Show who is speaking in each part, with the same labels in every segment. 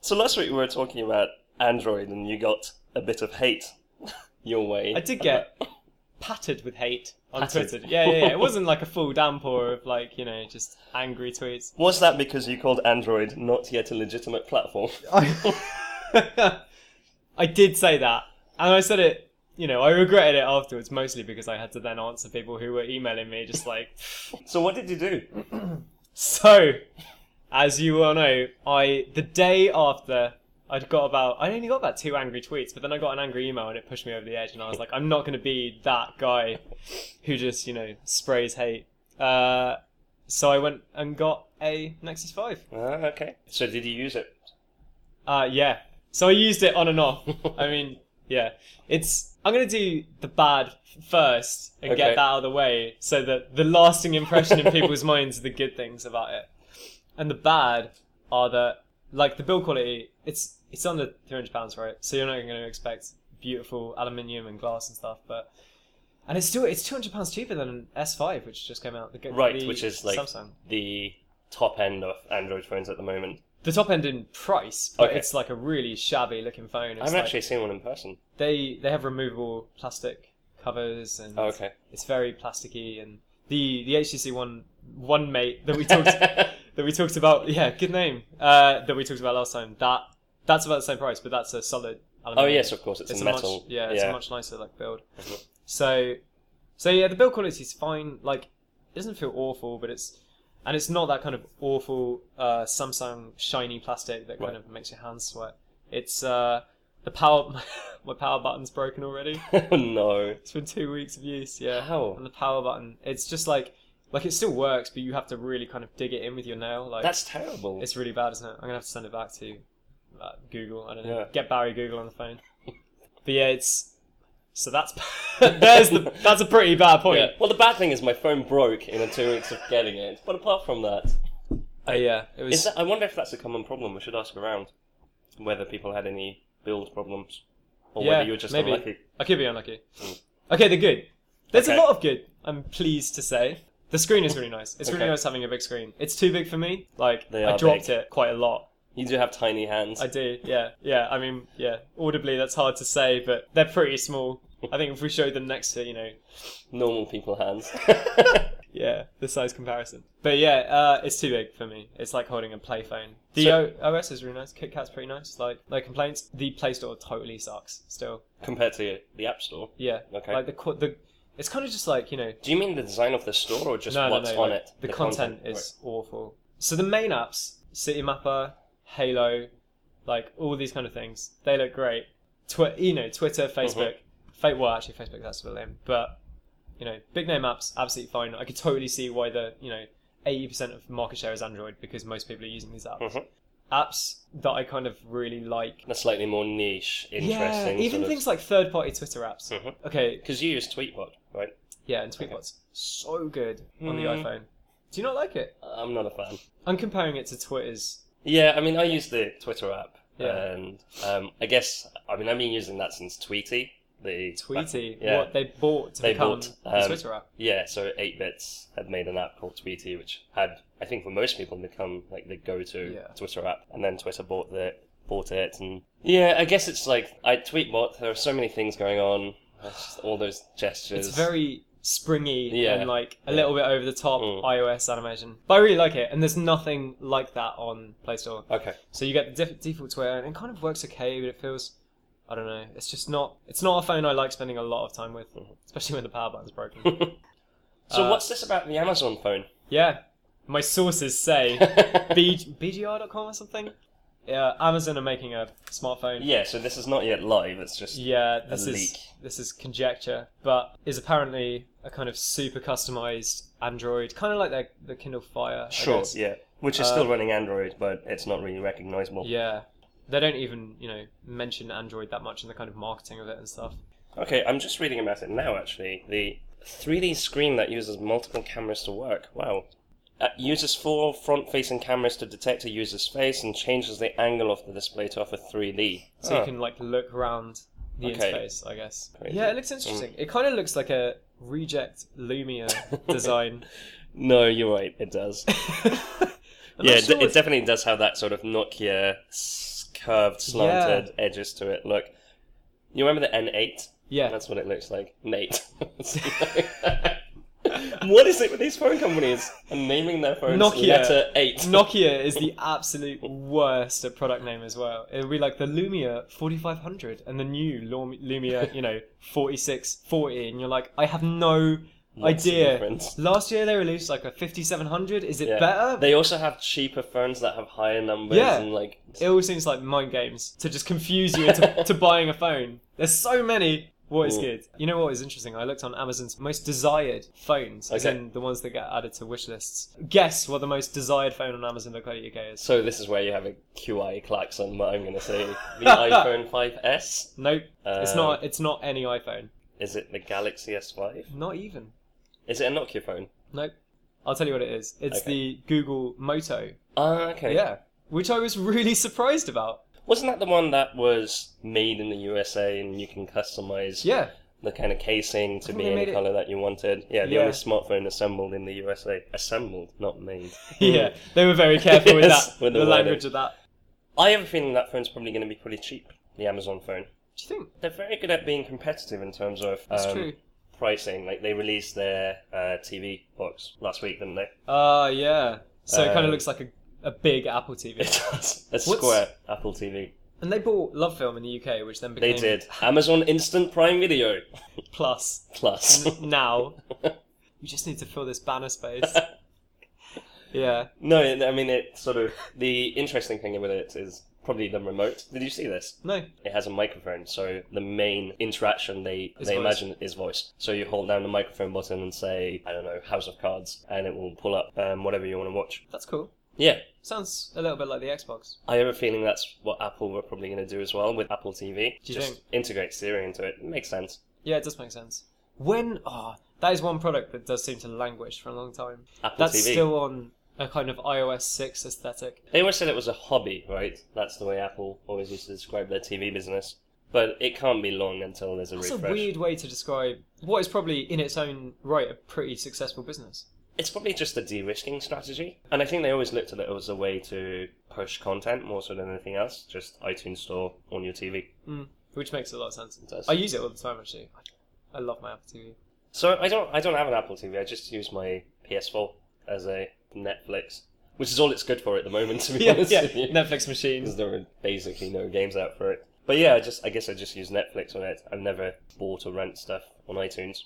Speaker 1: So last week we were talking about Android, and you got a bit of hate your way.
Speaker 2: I did get pattered with hate on
Speaker 1: Pattered.
Speaker 2: Twitter. Yeah, yeah, yeah. It wasn't like a full downpour of like you know just angry tweets.
Speaker 1: Was that because you called Android not yet a legitimate platform?
Speaker 2: I, I did say that, and I said it. You know, I regretted it afterwards, mostly because I had to then answer people who were emailing me, just like.
Speaker 1: So what did you do?
Speaker 2: So, as you all know, I the day after I'd got about I only got about two angry tweets, but then I got an angry email and it pushed me over the edge, and I was like, I'm not going to be that guy who just you know sprays hate. Uh, so I went and got a Nexus Five.
Speaker 1: Ah, okay. So did you use it?
Speaker 2: Uh, yeah. So I used it on and off. I mean, yeah. It's. I'm gonna do the bad f- first and
Speaker 1: Okay.
Speaker 2: get that out of the way, so that the lasting impression in people's minds are the good things about it, and the bad are that like the build quality. It's it's under 300 pounds, right? So you're not gonna expect beautiful aluminium and glass and stuff, but. And it's still it's two hundred pounds cheaper than an S five, which just came out. The, g-
Speaker 1: Right,
Speaker 2: the
Speaker 1: which is like
Speaker 2: Samsung.
Speaker 1: the top end of Android phones at the moment.
Speaker 2: The top end in price, but
Speaker 1: Okay.
Speaker 2: it's like a really shabby looking phone. It's
Speaker 1: I haven't
Speaker 2: like-
Speaker 1: actually seen one in person.
Speaker 2: they they have removable plastic covers and
Speaker 1: Oh, okay.
Speaker 2: it's very plasticky and the the HTC one one mate that we talked that we talked about yeah good name uh, that we talked about last time that that's about the same price but that's a solid
Speaker 1: oh
Speaker 2: aluminium.
Speaker 1: yes, of course. It's,
Speaker 2: it's
Speaker 1: a
Speaker 2: a
Speaker 1: metal.
Speaker 2: much yeah it's a much nicer like build
Speaker 1: Mhm.
Speaker 2: so so yeah the build quality is fine like it doesn't feel awful but it's and it's not that kind of awful uh, Samsung shiny plastic that kind
Speaker 1: Right.
Speaker 2: of makes your hands sweat it's uh, the power my power button's broken already
Speaker 1: oh no.
Speaker 2: it's been two weeks of use, yeah.
Speaker 1: How?
Speaker 2: And the power button. It's just like like it still works, but you have to really kind of dig it in with your nail. Like
Speaker 1: That's terrible.
Speaker 2: it's really bad, isn't it? I'm gonna have to send it back to uh, Google. I don't know.
Speaker 1: Yeah.
Speaker 2: Get Barry Google on the phone. but yeah, it's so that's there's the that's a pretty bad point.
Speaker 1: Oh, Yeah. Well, the bad thing is my phone broke in the two weeks of getting it. But apart from that,
Speaker 2: Oh yeah, it was.
Speaker 1: is that, I wonder if that's a common problem. We should ask around whether people had any build problems or
Speaker 2: yeah,
Speaker 1: whether you were just
Speaker 2: maybe.
Speaker 1: unlucky.
Speaker 2: I could be unlucky. Okay, they're good. There's
Speaker 1: Okay.
Speaker 2: a lot of good. I'm pleased to say. The screen is really nice. It's
Speaker 1: Okay.
Speaker 2: really nice having a big screen. It's too big for me. Like
Speaker 1: They
Speaker 2: I
Speaker 1: are
Speaker 2: dropped
Speaker 1: big.
Speaker 2: it quite a lot.
Speaker 1: You do have tiny hands.
Speaker 2: I do, yeah, yeah. I mean, yeah. Audibly, that's hard to say, but they're pretty small. I think if we showed them next to, you know,
Speaker 1: Normal people hands.
Speaker 2: yeah, the size comparison. But yeah, uh, it's too big for me. It's like holding a play phone. The
Speaker 1: So-
Speaker 2: o- OS is really nice. KitKat's pretty nice. Like, no complaints. The Play Store totally sucks. Still,
Speaker 1: compared to the App Store.
Speaker 2: yeah.
Speaker 1: Okay.
Speaker 2: Like the qu- the, it's kind of just like you know,
Speaker 1: Do you mean the design of the store or just
Speaker 2: no,
Speaker 1: what's
Speaker 2: no, no.
Speaker 1: on
Speaker 2: like,
Speaker 1: it?
Speaker 2: The, content, is awful. So the main apps, City Mapper, Halo, like all these kind of things, they look great. Twi- you know, Twitter,
Speaker 1: Mm-hmm.
Speaker 2: Facebook, Fa- well, actually, Facebook that's a bit lame, but you know, big name apps, absolutely fine. I could totally see why the you know, eighty percent of market share is Android because most people are using these apps.
Speaker 1: Mhm.
Speaker 2: Apps that I kind of really like.
Speaker 1: That's slightly more niche,
Speaker 2: Yeah,
Speaker 1: interesting.
Speaker 2: even things like third-party Twitter apps.
Speaker 1: Mhm.
Speaker 2: Okay,
Speaker 1: Because you use Tweetbot, right?
Speaker 2: yeah, and Tweetbot's so good on the
Speaker 1: Mm.
Speaker 2: iPhone. Do you not like it?
Speaker 1: I'm not a fan.
Speaker 2: I'm comparing it to Twitter's.
Speaker 1: Yeah, I mean, I use the Twitter app,
Speaker 2: Yeah.
Speaker 1: and um, I guess I mean I've been using that since Tweety. The
Speaker 2: Tweety,
Speaker 1: yeah.
Speaker 2: what they bought to
Speaker 1: They
Speaker 2: become
Speaker 1: bought,
Speaker 2: the
Speaker 1: um,
Speaker 2: Twitter app.
Speaker 1: Yeah, so 8-Bits had made an app called Tweety, which had, I think for most people, become like the go-to
Speaker 2: Yeah.
Speaker 1: Twitter app. And then Twitter bought the bought it, and yeah, I guess it's like I Tweetbot. There are so many things going on. It's just all those gestures.
Speaker 2: It's very springy
Speaker 1: Yeah.
Speaker 2: and like a
Speaker 1: Yeah.
Speaker 2: little bit over the top
Speaker 1: Mm.
Speaker 2: iOS animation. But I really like it, and there's nothing like that on Play Store.
Speaker 1: okay.
Speaker 2: So you get the diff- default Twitter, and it kind of works okay, but it feels. I don't know. It's just not. It's not a phone I like spending a lot of time with,
Speaker 1: Mm-hmm.
Speaker 2: especially when the power button's broken.
Speaker 1: So
Speaker 2: Uh,
Speaker 1: what's this about the Amazon phone?
Speaker 2: yeah, my sources say B- BGR.com or something. Yeah, Amazon are making a smartphone.
Speaker 1: yeah, so this is not yet live. It's just
Speaker 2: Yeah, this is
Speaker 1: leak.
Speaker 2: this is conjecture, but is apparently a kind of super customized Android, kind of like the, the Kindle Fire. I
Speaker 1: sure,
Speaker 2: guess.
Speaker 1: yeah, which is
Speaker 2: Uh,
Speaker 1: still running Android, but it's not really recognizable.
Speaker 2: Yeah. They don't even you know mention Android that much in the kind of marketing of it and stuff.
Speaker 1: Okay, I'm just reading about it now. Actually, the 3D screen that uses multiple cameras to work. Wow. Uh, uses four front-facing cameras to detect a user's face and changes the angle of the display to offer 3D.
Speaker 2: So
Speaker 1: Ah,
Speaker 2: you can like look around the
Speaker 1: Okay.
Speaker 2: interface, I guess.
Speaker 1: Crazy. Mm.
Speaker 2: Yeah, it looks interesting. It kind of looks like a reject Lumia design.
Speaker 1: No, you're right. It does.
Speaker 2: I'm not
Speaker 1: yeah, it-
Speaker 2: sure
Speaker 1: it
Speaker 2: if-
Speaker 1: definitely does have that sort of Nokia s- curved, slanted edges to it. Look, you remember the N8?
Speaker 2: Yeah.
Speaker 1: That's what it looks like. Nate. what is it with these phone companies and naming their phones
Speaker 2: Nokia.
Speaker 1: letter 8?
Speaker 2: Nokia is the absolute worst at product name as well. It would be like the Lumia 4500 and the new Lum- Lumia, you know, 4640, and you're like, I have no
Speaker 1: What's the
Speaker 2: idea.
Speaker 1: difference?
Speaker 2: Last year they released like a 5700. Is it
Speaker 1: Yeah.
Speaker 2: better?
Speaker 1: They also have cheaper phones that have higher numbers
Speaker 2: Yeah.
Speaker 1: and like
Speaker 2: it always seems like mind games to just confuse you into to buying a phone. There's so many. What is
Speaker 1: Mm.
Speaker 2: good? You know what is interesting? I looked on Amazon's most desired phones, as
Speaker 1: Okay.
Speaker 2: in the ones that get added to wish lists. Guess what the most desired phone on Amazon.co.uk is?
Speaker 1: so this is where you have a QI klaxon, what I'm gonna say. The iPhone 5S?
Speaker 2: Nope, it's
Speaker 1: Um,
Speaker 2: not. It's not any iPhone.
Speaker 1: Is it the Galaxy S5?
Speaker 2: Not even.
Speaker 1: Is it a Nokia phone?
Speaker 2: Nope. I'll tell you what it is. It's
Speaker 1: Okay.
Speaker 2: the Google Moto.
Speaker 1: Ah, okay.
Speaker 2: Yeah, which I was really surprised about.
Speaker 1: Wasn't that the one that was made in the USA and you can customize
Speaker 2: Yeah,
Speaker 1: the kind of casing to
Speaker 2: think
Speaker 1: be
Speaker 2: they made
Speaker 1: any
Speaker 2: it-
Speaker 1: color that you wanted? Yeah, the
Speaker 2: Yeah.
Speaker 1: only smartphone assembled in the USA. Assembled, not made.
Speaker 2: yeah. They were very careful with
Speaker 1: Yes,
Speaker 2: that.
Speaker 1: with
Speaker 2: the
Speaker 1: the wording.
Speaker 2: language of that.
Speaker 1: I have a feeling that phone's probably going to be pretty cheap, the Amazon phone.
Speaker 2: Do you think
Speaker 1: They're very good at being competitive in terms of
Speaker 2: that's
Speaker 1: um,
Speaker 2: true?
Speaker 1: pricing. Like, they released their uh, TV box last week, didn't they?
Speaker 2: Ah, yeah. So it kind of
Speaker 1: Um,
Speaker 2: looks like a, a big Apple TV.
Speaker 1: It does. A square Apple TV.
Speaker 2: And they bought Love Film in the UK, which then
Speaker 1: They
Speaker 2: became
Speaker 1: did. Amazon Instant Prime Video
Speaker 2: Plus.
Speaker 1: Plus.
Speaker 2: N- now, we just need to fill this banner space. yeah.
Speaker 1: No, it- I mean it. Sort of the interesting thing with it is probably the remote. Did you see this?
Speaker 2: No.
Speaker 1: It has a microphone, so the main interaction they
Speaker 2: Is
Speaker 1: they
Speaker 2: voice.
Speaker 1: imagine is voice. So you hold down the microphone button and say, I don't know, House of Cards, and it will pull up um, whatever you want to watch.
Speaker 2: That's cool.
Speaker 1: Yeah,
Speaker 2: Sounds a little bit like the Xbox.
Speaker 1: I have a feeling that's what Apple were probably going to do as well with Apple TV.
Speaker 2: Do you
Speaker 1: Just integrate Siri into it. Makes sense.
Speaker 2: Yeah, it does make sense. When. Ah, that is one product that does seem to languish for a long time.
Speaker 1: Apple
Speaker 2: That's
Speaker 1: TV.
Speaker 2: still on a kind of iOS 6 aesthetic.
Speaker 1: They always said it was a hobby, right? That's the way Apple always used to describe their TV business. But it can't be long until there's a
Speaker 2: That's
Speaker 1: refresh.
Speaker 2: a weird way to describe what is probably, in its own right, a pretty successful business.
Speaker 1: It's probably just a de-risking strategy, and I think they always looked at it as a way to push content more so than anything else. Just iTunes Store on your TV.
Speaker 2: Mm, which makes a lot of sense.
Speaker 1: It does.
Speaker 2: I use it all the time, actually. I love my Apple TV.
Speaker 1: So I don't, I don't have an Apple TV. I just use my PS4 as a Netflix, which is all it's good for at the moment. To be
Speaker 2: yeah,
Speaker 1: honest
Speaker 2: yeah.
Speaker 1: with you,
Speaker 2: Netflix machine.
Speaker 1: because there are basically no games out for it. But yeah, I just, I guess I just use Netflix on it. I've never bought or rent stuff on iTunes.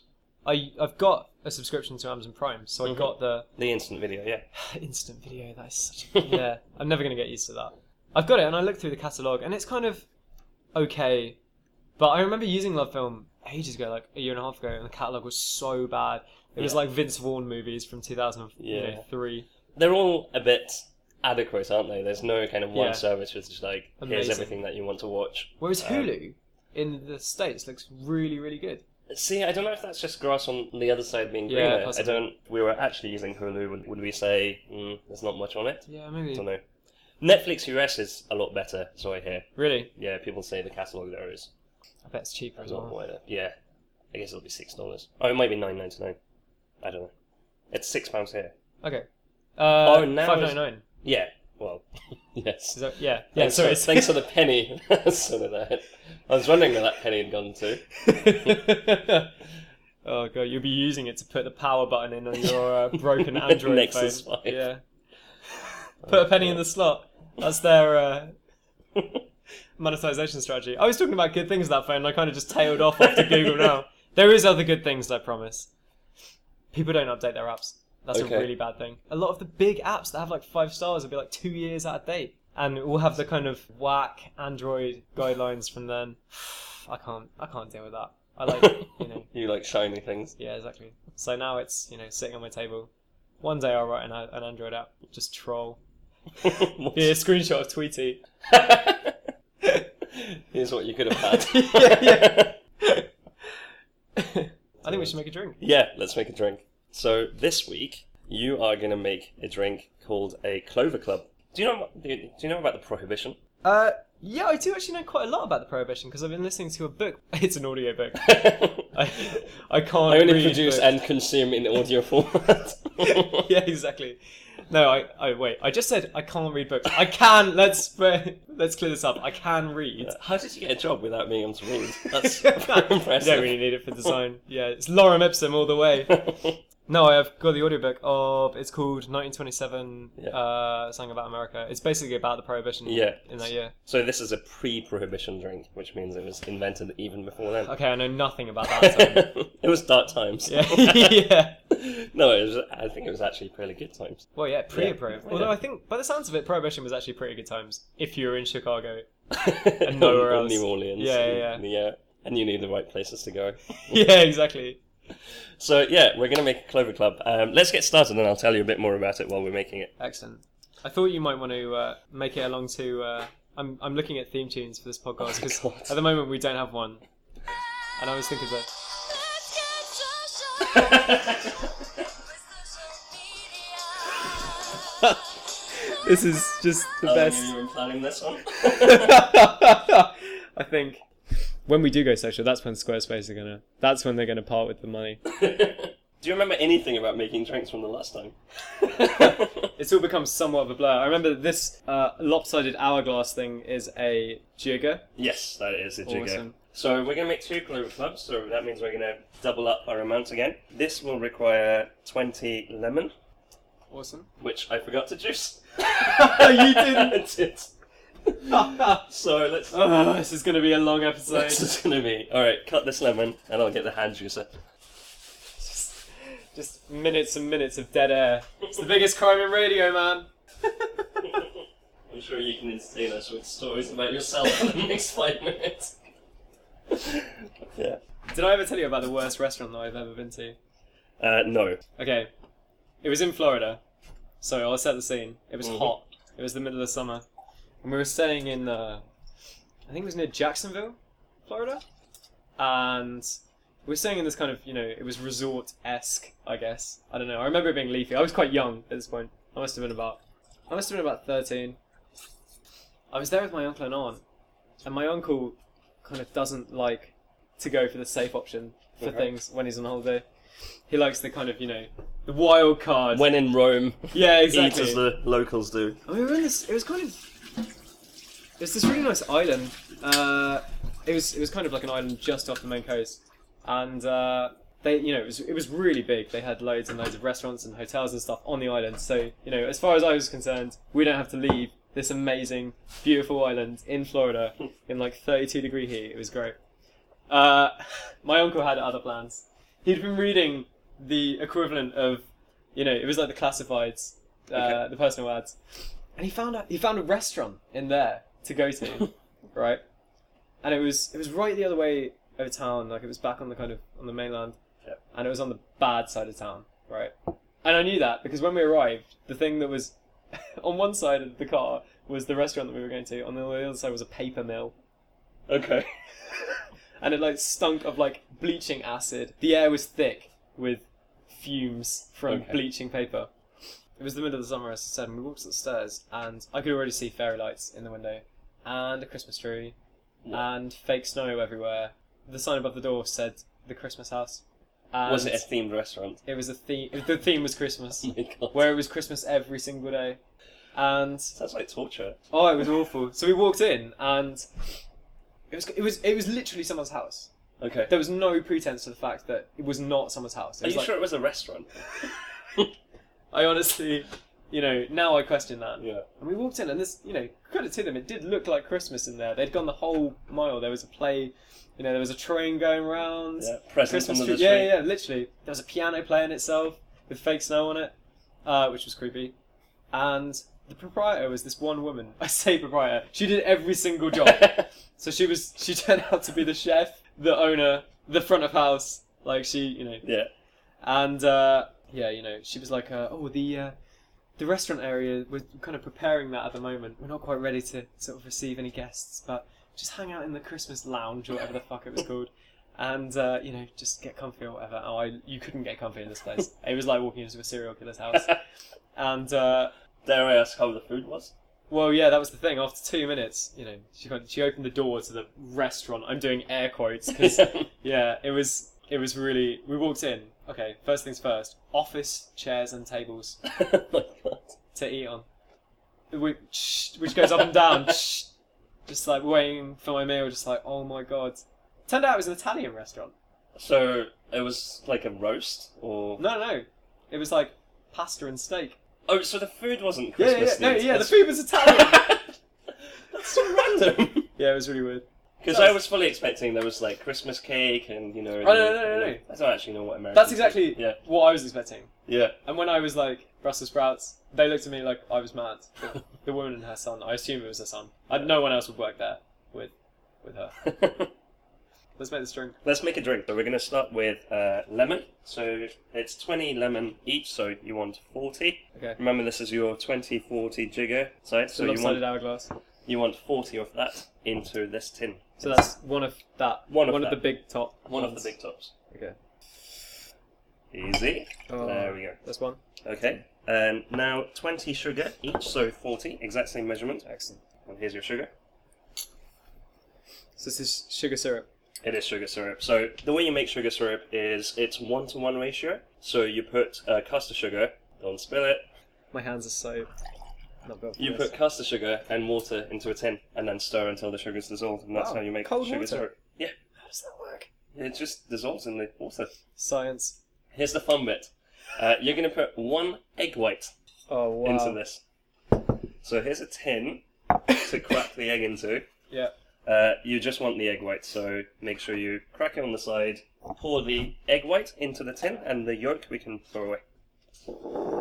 Speaker 2: I I've got a subscription to Amazon Prime, so I
Speaker 1: Mhm.
Speaker 2: got the
Speaker 1: The instant video, yeah.
Speaker 2: instant video. That is such a, yeah. I'm never gonna get used to that. I've got it, and I looked through the catalog, and it's kind of okay. But I remember using Love Film ages ago, like a year and a half ago, and the catalog was so bad. It was
Speaker 1: Yeah.
Speaker 2: like Vince Vaughn movies from 2003.
Speaker 1: they're all a bit adequate, aren't they? There's no kind of one
Speaker 2: Yeah.
Speaker 1: service which is like here's
Speaker 2: Amazing.
Speaker 1: everything that you want to watch.
Speaker 2: Whereas
Speaker 1: Um,
Speaker 2: Hulu in the states looks really, really good.
Speaker 1: See, I don't know if that's just grass on the other side being
Speaker 2: Yeah,
Speaker 1: greener. I
Speaker 2: possibly.
Speaker 1: don't. We were actually using Hulu. Would, would we say mm, there's not much on it?
Speaker 2: Yeah,
Speaker 1: I
Speaker 2: maybe.
Speaker 1: don't know. Netflix US is a lot better, so I hear.
Speaker 2: Really,
Speaker 1: Yeah, people say the catalog there is
Speaker 2: I bet it's cheaper
Speaker 1: a
Speaker 2: as
Speaker 1: lot
Speaker 2: well.
Speaker 1: wider. Yeah, I guess it'll be six dollars. Oh, it might be nine ninety nine. I don't know. It's six pounds here.
Speaker 2: Okay. Uh,
Speaker 1: Oh, now
Speaker 2: five
Speaker 1: it's-
Speaker 2: ninety nine.
Speaker 1: Yeah. Well, yes.
Speaker 2: Is that yeah? Yeah.
Speaker 1: Thanks,
Speaker 2: sorry.
Speaker 1: for, thanks for the penny. Son of that. I was wondering where that penny had gone to.
Speaker 2: oh god, you'll be using it to put the power button in on your uh, broken Android
Speaker 1: Nexus
Speaker 2: phone.
Speaker 1: 5.
Speaker 2: Yeah. Put a penny in the slot. That's their uh, monetization strategy. I was talking about good things with that phone. and I kind of just tailed off after Google now. There is other good things, I promise. People don't update their apps. That's
Speaker 1: Okay.
Speaker 2: a really bad thing. A lot of the big apps that have like five stars will be like two years out of date, and we'll have the kind of whack Android guidelines from then. I can't. I can't deal with that. I like you know.
Speaker 1: You like shiny things.
Speaker 2: Yeah, exactly. So now it's you know sitting on my table. One day I'll write an, an Android app, just troll. Yeah, screenshot of Tweety.
Speaker 1: Here's what you could have had.
Speaker 2: Yeah, yeah. I think we should make a drink.
Speaker 1: Yeah, let's make a drink. So this week you are gonna make a drink called a Clover Club. Do you know? Do you, do you know about the prohibition?
Speaker 2: Uh, yeah, I do actually know quite a lot about the prohibition because I've been listening to a book. It's an audio book.
Speaker 1: I
Speaker 2: I, I can't.
Speaker 1: only
Speaker 2: read
Speaker 1: produce
Speaker 2: books.
Speaker 1: and consume in audio format.
Speaker 2: yeah, exactly. No, I. Oh wait, I just said I can't read books. I can. Let's let's clear this up. I can read.
Speaker 1: How did you get a job without being able to read? That's
Speaker 2: You
Speaker 1: very impressive.
Speaker 2: don't really need it for design. Yeah, it's Lorem Ipsum all the way. No, I've got the audiobook of it's called 1927
Speaker 1: Yeah.
Speaker 2: uh something about America. It's basically about the prohibition
Speaker 1: Yeah.
Speaker 2: in that year.
Speaker 1: so this is a pre-prohibition drink, which means it was invented even before then.
Speaker 2: Okay, I know nothing about that. so-
Speaker 1: it was dark times.
Speaker 2: yeah. yeah.
Speaker 1: no, it was, I think it was actually fairly good times.
Speaker 2: Well, yeah, pre-approved.
Speaker 1: Yeah.
Speaker 2: Although I think by the sounds of it prohibition was actually pretty good times if you were in Chicago. nowhere
Speaker 1: Or
Speaker 2: else.
Speaker 1: New Orleans.
Speaker 2: Yeah,
Speaker 1: and,
Speaker 2: yeah,
Speaker 1: the, uh, and you knew the right places to go.
Speaker 2: yeah, exactly.
Speaker 1: So yeah, we're gonna make a Clover Club. Um, let's get started, and I'll tell you a bit more about it while we're making it.
Speaker 2: Excellent. I thought you might want to uh, make it along to uh, I'm I'm looking at theme tunes for this podcast
Speaker 1: my
Speaker 2: because
Speaker 1: God.
Speaker 2: at the moment we don't have one. And I was thinking that
Speaker 3: Let's get social with social media.
Speaker 2: this is just the
Speaker 1: you were planning this one.
Speaker 2: I think when we do go social, that's when Squarespace are gonna. That's when they're gonna part with the money.
Speaker 1: Do you remember anything about making drinks from the last time?
Speaker 2: It's all become somewhat of a blur. I remember this uh, lopsided hourglass thing is a jigger.
Speaker 1: yes, that is a jigger.
Speaker 2: Awesome.
Speaker 1: So we're gonna make two Clover Clubs. So that means we're gonna double up our amount again. This will require twenty lemon,
Speaker 2: Awesome.
Speaker 1: which I forgot to juice.
Speaker 2: you
Speaker 1: I
Speaker 2: didn't.
Speaker 1: did. So let's.
Speaker 2: oh, this is gonna be a long episode.
Speaker 1: This is gonna be all right. Cut this lemon, and I'll get the hand juicer.
Speaker 2: just, just minutes and minutes of dead air. It's the biggest crime in radio, man.
Speaker 1: I'm sure you can entertain us with stories about yourself in the next five minutes. yeah.
Speaker 2: Did I ever tell you about the worst restaurant that I've ever been to?
Speaker 1: Uh, no.
Speaker 2: Okay. It was in Florida. So I'll set the scene. It was
Speaker 1: Mhm.
Speaker 2: hot. It was the middle of summer. And we were staying in, uh, I think it was near Jacksonville, Florida. And we were staying in this kind of, you know, it was resort esque, I guess. I don't know. I remember it being leafy. I was quite young at this point. I must have been about, I must have been about 13. I was there with my uncle and aunt. And my uncle kind of doesn't like to go for the safe option for
Speaker 1: Okay.
Speaker 2: things when he's on holiday. He likes the kind of, you know, the wild card.
Speaker 1: When in Rome,
Speaker 2: yeah,
Speaker 1: eat
Speaker 2: exactly.
Speaker 1: as the locals do.
Speaker 2: And we were in this. It was kind of. It's this really nice island. Uh, it was it was kind of like an island just off the main coast, and uh, they you know it was it was really big. They had loads and loads of restaurants and hotels and stuff on the island. So you know, as far as I was concerned, we don't have to leave this amazing, beautiful island in Florida in like 32 degree heat. It was great. Uh, my uncle had other plans. He'd been reading the equivalent of, you know, it was like the classifieds, uh,
Speaker 1: Okay.
Speaker 2: the personal ads, and he found a, he found a restaurant in there to go to, right? And it was it was right the other way of town, like it was back on the kind of on the mainland,
Speaker 1: Yep.
Speaker 2: and it was on the bad side of town, right? And I knew that because when we arrived, the thing that was on one side of the car was the restaurant that we were going to, on the other side was a paper mill
Speaker 1: Okay.
Speaker 2: and it like stunk of like bleaching acid. The air was thick with fumes from
Speaker 1: Okay.
Speaker 2: bleaching paper. It was the middle of the summer, as I said, and we walked up the stairs, and I could already see fairy lights in the window, and a Christmas tree,
Speaker 1: Yeah.
Speaker 2: and fake snow everywhere. The sign above the door said the Christmas house. And
Speaker 1: Was it a themed restaurant?
Speaker 2: It was a theme. The theme was Christmas,
Speaker 1: Oh my god.
Speaker 2: where it was Christmas every single day, and
Speaker 1: Sounds like torture.
Speaker 2: Oh, it was awful. So we walked in, and it was it was it was literally someone's house.
Speaker 1: Okay.
Speaker 2: There was no pretense to the fact that it was not someone's house. It
Speaker 1: Are
Speaker 2: was
Speaker 1: you
Speaker 2: like,
Speaker 1: sure it was a restaurant?
Speaker 2: I honestly, you know, now I question that.
Speaker 1: Yeah.
Speaker 2: And we walked in, and this, you know, credit to them, it did look like Christmas in there. They'd gone the whole mile. There was a play, you know, there was a train going round.
Speaker 1: Yeah. Presents
Speaker 2: Christmas
Speaker 1: under
Speaker 2: tree.
Speaker 1: the tree.
Speaker 2: Yeah, yeah, literally. There was a piano playing itself with fake snow on it, uh, which was creepy. And the proprietor was this one woman. I say proprietor. She did every single job. so she was. She turned out to be the chef, the owner, the front of house. Like she, you know,
Speaker 1: yeah.
Speaker 2: and uh, yeah, you know, she was like, uh, "Oh, the uh, the restaurant area, we're kind of preparing that at the moment. We're not quite ready to sort of receive any guests, but just hang out in the Christmas lounge or whatever the fuck it was called, and uh, you know, just get comfy or whatever." Oh, I, you couldn't get comfy in this place. it was like walking into a serial killer's house. and uh,
Speaker 1: Dare I ask how the food was?
Speaker 2: well, yeah, that was the thing. After two minutes, you know, she got, she opened the door to the restaurant. I'm doing air quotes because yeah, it was it was really. We walked in. Okay, first things first. Office chairs and tables.
Speaker 1: oh my god.
Speaker 2: to eat on, which, which goes up and down. just like waiting for my meal, just like, oh my god. Turned out it was an Italian restaurant.
Speaker 1: So it was like a roast, or
Speaker 2: No, no. It was like pasta and steak.
Speaker 1: oh, so the food wasn't
Speaker 2: Yeah, yeah,
Speaker 1: Christmas.
Speaker 2: yeah. No,
Speaker 1: themed.
Speaker 2: yeah, the
Speaker 1: That's-
Speaker 2: food was Italian.
Speaker 1: That's so random.
Speaker 2: yeah, it was really weird.
Speaker 1: Because I was fully expecting there was like Christmas cake and you know.
Speaker 2: Oh, no, no, no, no, no.
Speaker 1: I don't actually know what American.
Speaker 2: That's exactly
Speaker 1: Yeah,
Speaker 2: what I was expecting.
Speaker 1: yeah.
Speaker 2: And when I was like Brussels sprouts, they looked at me like I was mad. The- the woman and her son. I assume it was her son. I, no one else would work there with, with her. Let's make this drink.
Speaker 1: Let's make a drink. So we're going to start with uh, lemon. So it's 20 lemon each, so you want 40.
Speaker 2: Okay.
Speaker 1: Remember, this is your 20 40 jigger side,
Speaker 2: So
Speaker 1: so you
Speaker 2: lopsided
Speaker 1: want,
Speaker 2: hourglass.
Speaker 1: you want 40 of that into this tin.
Speaker 2: So that's one of that.
Speaker 1: One of
Speaker 2: of
Speaker 1: that.
Speaker 2: the big top.
Speaker 1: One of the
Speaker 2: ones.
Speaker 1: big tops.
Speaker 2: Okay.
Speaker 1: Easy.
Speaker 2: Oh.
Speaker 1: There we go.
Speaker 2: That's one.
Speaker 1: Okay. Um, now 20 sugar each, so 40, exact same measurement.
Speaker 2: Excellent.
Speaker 1: And here's your sugar.
Speaker 2: So this is sugar syrup.
Speaker 1: It is sugar syrup. So the way you make sugar syrup is it's one to one ratio. So you put uh, caster sugar, don't spill it.
Speaker 2: My hands are so. Not built for
Speaker 1: You
Speaker 2: this.
Speaker 1: put caster sugar and water into a tin and then stir until the sugar's dissolved, and that's
Speaker 2: Wow,
Speaker 1: how you make
Speaker 2: cold
Speaker 1: sugar
Speaker 2: water.
Speaker 1: syrup. Yeah,
Speaker 2: How does that work?
Speaker 1: it just dissolves in the water.
Speaker 2: Science.
Speaker 1: Here's the fun bit. Uh, you're going to put one egg white
Speaker 2: Oh wow.
Speaker 1: into this. So here's a tin to crack the egg into.
Speaker 2: Yeah.
Speaker 1: Uh, you just want the egg white, so make sure you crack it on the side, pour the egg white into the tin, and the yolk we can throw away.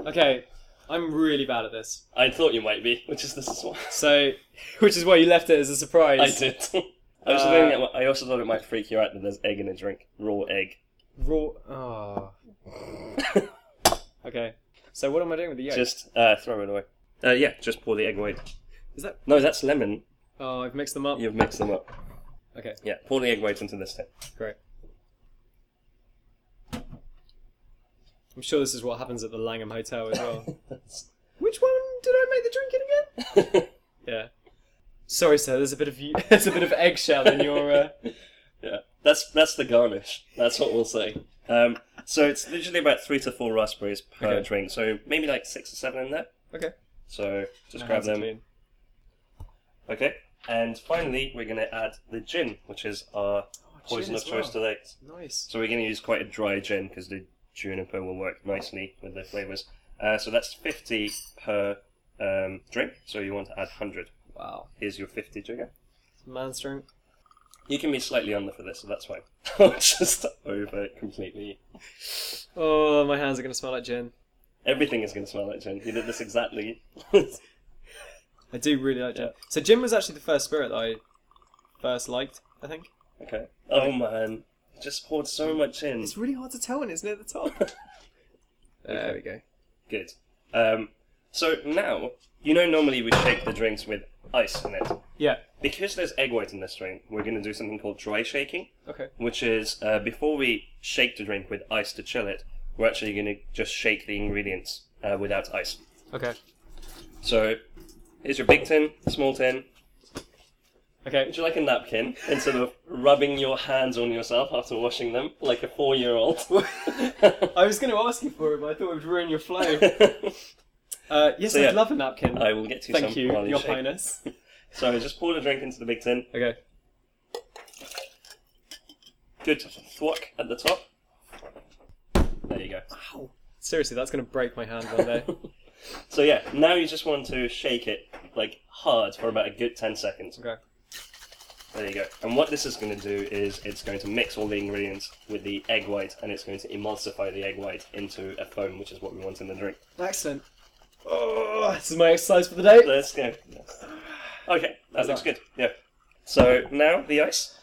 Speaker 2: Okay, I'm really bad at this.
Speaker 1: I thought you might be, which is this is what
Speaker 2: So, which is why you left it as a surprise.
Speaker 1: I did. I, was
Speaker 2: Uh,
Speaker 1: thinking it, I also thought it might freak you out that there's egg in a drink, raw egg.
Speaker 2: Raw. Oh. okay. So what am I doing with the yolk?
Speaker 1: Just uh, throw it away. Uh, yeah, just pour the egg white.
Speaker 2: Is that?
Speaker 1: No, that's lemon.
Speaker 2: Oh, I've mixed them up.
Speaker 1: You've mixed them up.
Speaker 2: Okay,
Speaker 1: Yeah, pour the egg white into this tin.
Speaker 2: great. I'm sure this is what happens at the Langham Hotel as well. which one did I make the drink in again? Yeah. Sorry, sir. There's a bit of y- there's a bit of eggshell in your. Uh...
Speaker 1: yeah, that's that's the garnish. That's what we'll say. Um, so it's usually about three to four raspberries per
Speaker 2: Okay.
Speaker 1: drink. So maybe like six or seven in there.
Speaker 2: Okay.
Speaker 1: So just
Speaker 2: My
Speaker 1: grab
Speaker 2: hands are
Speaker 1: them.
Speaker 2: clean.
Speaker 1: Okay. And finally, we're going to add the gin, which is our
Speaker 2: Oh,
Speaker 1: poison
Speaker 2: gin
Speaker 1: of
Speaker 2: as
Speaker 1: choice
Speaker 2: well.
Speaker 1: today.
Speaker 2: Nice.
Speaker 1: So we're going to use quite a dry gin because the juniper will work nicely with the flavors. Uh, so that's 50 per um, drink. So you want to add 100.
Speaker 2: Wow.
Speaker 1: Here's your 50 jigger.
Speaker 2: Man's drink.
Speaker 1: You can be slightly under for this, so that's fine. I'll just over it completely.
Speaker 2: Oh, my hands are gonna smell like gin.
Speaker 1: Everything is going to smell like gin. You did this exactly.
Speaker 2: I do really like gin.
Speaker 1: Yeah.
Speaker 2: So gin was actually the first spirit that I first liked. I think
Speaker 1: okay. Oh man. Just poured so much in.
Speaker 2: it's really hard to tell when it's near the top. there we go.
Speaker 1: Good. Um, so now, you know, normally we shake the drinks with ice in it.
Speaker 2: Yeah.
Speaker 1: Because there's egg white in this drink, we're going to do something called dry shaking,
Speaker 2: Okay.
Speaker 1: which is uh, before we shake the drink with ice to chill it, we're actually going to just shake the ingredients uh, without ice.
Speaker 2: Okay.
Speaker 1: So here's your big tin, small tin.
Speaker 2: Okay.
Speaker 1: Would you like a napkin instead of rubbing your hands on yourself after washing them like a four year old?
Speaker 2: I was going to ask you for it, but I thought it would ruin your flow. Uh, yes,
Speaker 1: So,
Speaker 2: I'd
Speaker 1: yeah.
Speaker 2: love a napkin.
Speaker 1: I will get you
Speaker 2: Thank
Speaker 1: some
Speaker 2: you,
Speaker 1: while you
Speaker 2: Your
Speaker 1: shake.
Speaker 2: Highness.
Speaker 1: So just pour the drink into the big tin.
Speaker 2: okay.
Speaker 1: Good thwack at the top. There you go.
Speaker 2: Ow. Seriously, that's going to break my hand one day.
Speaker 1: So yeah, now you just want to shake it like hard for about a good ten seconds.
Speaker 2: okay.
Speaker 1: There you go. And what this is going to do is it's going to mix all the ingredients with the egg white, and it's going to emulsify the egg white into a foam, which is what we want in the drink.
Speaker 2: Excellent. Oh, this is my exercise for the day.
Speaker 1: Let's go. Okay, that looks good. Yeah. So now the ice.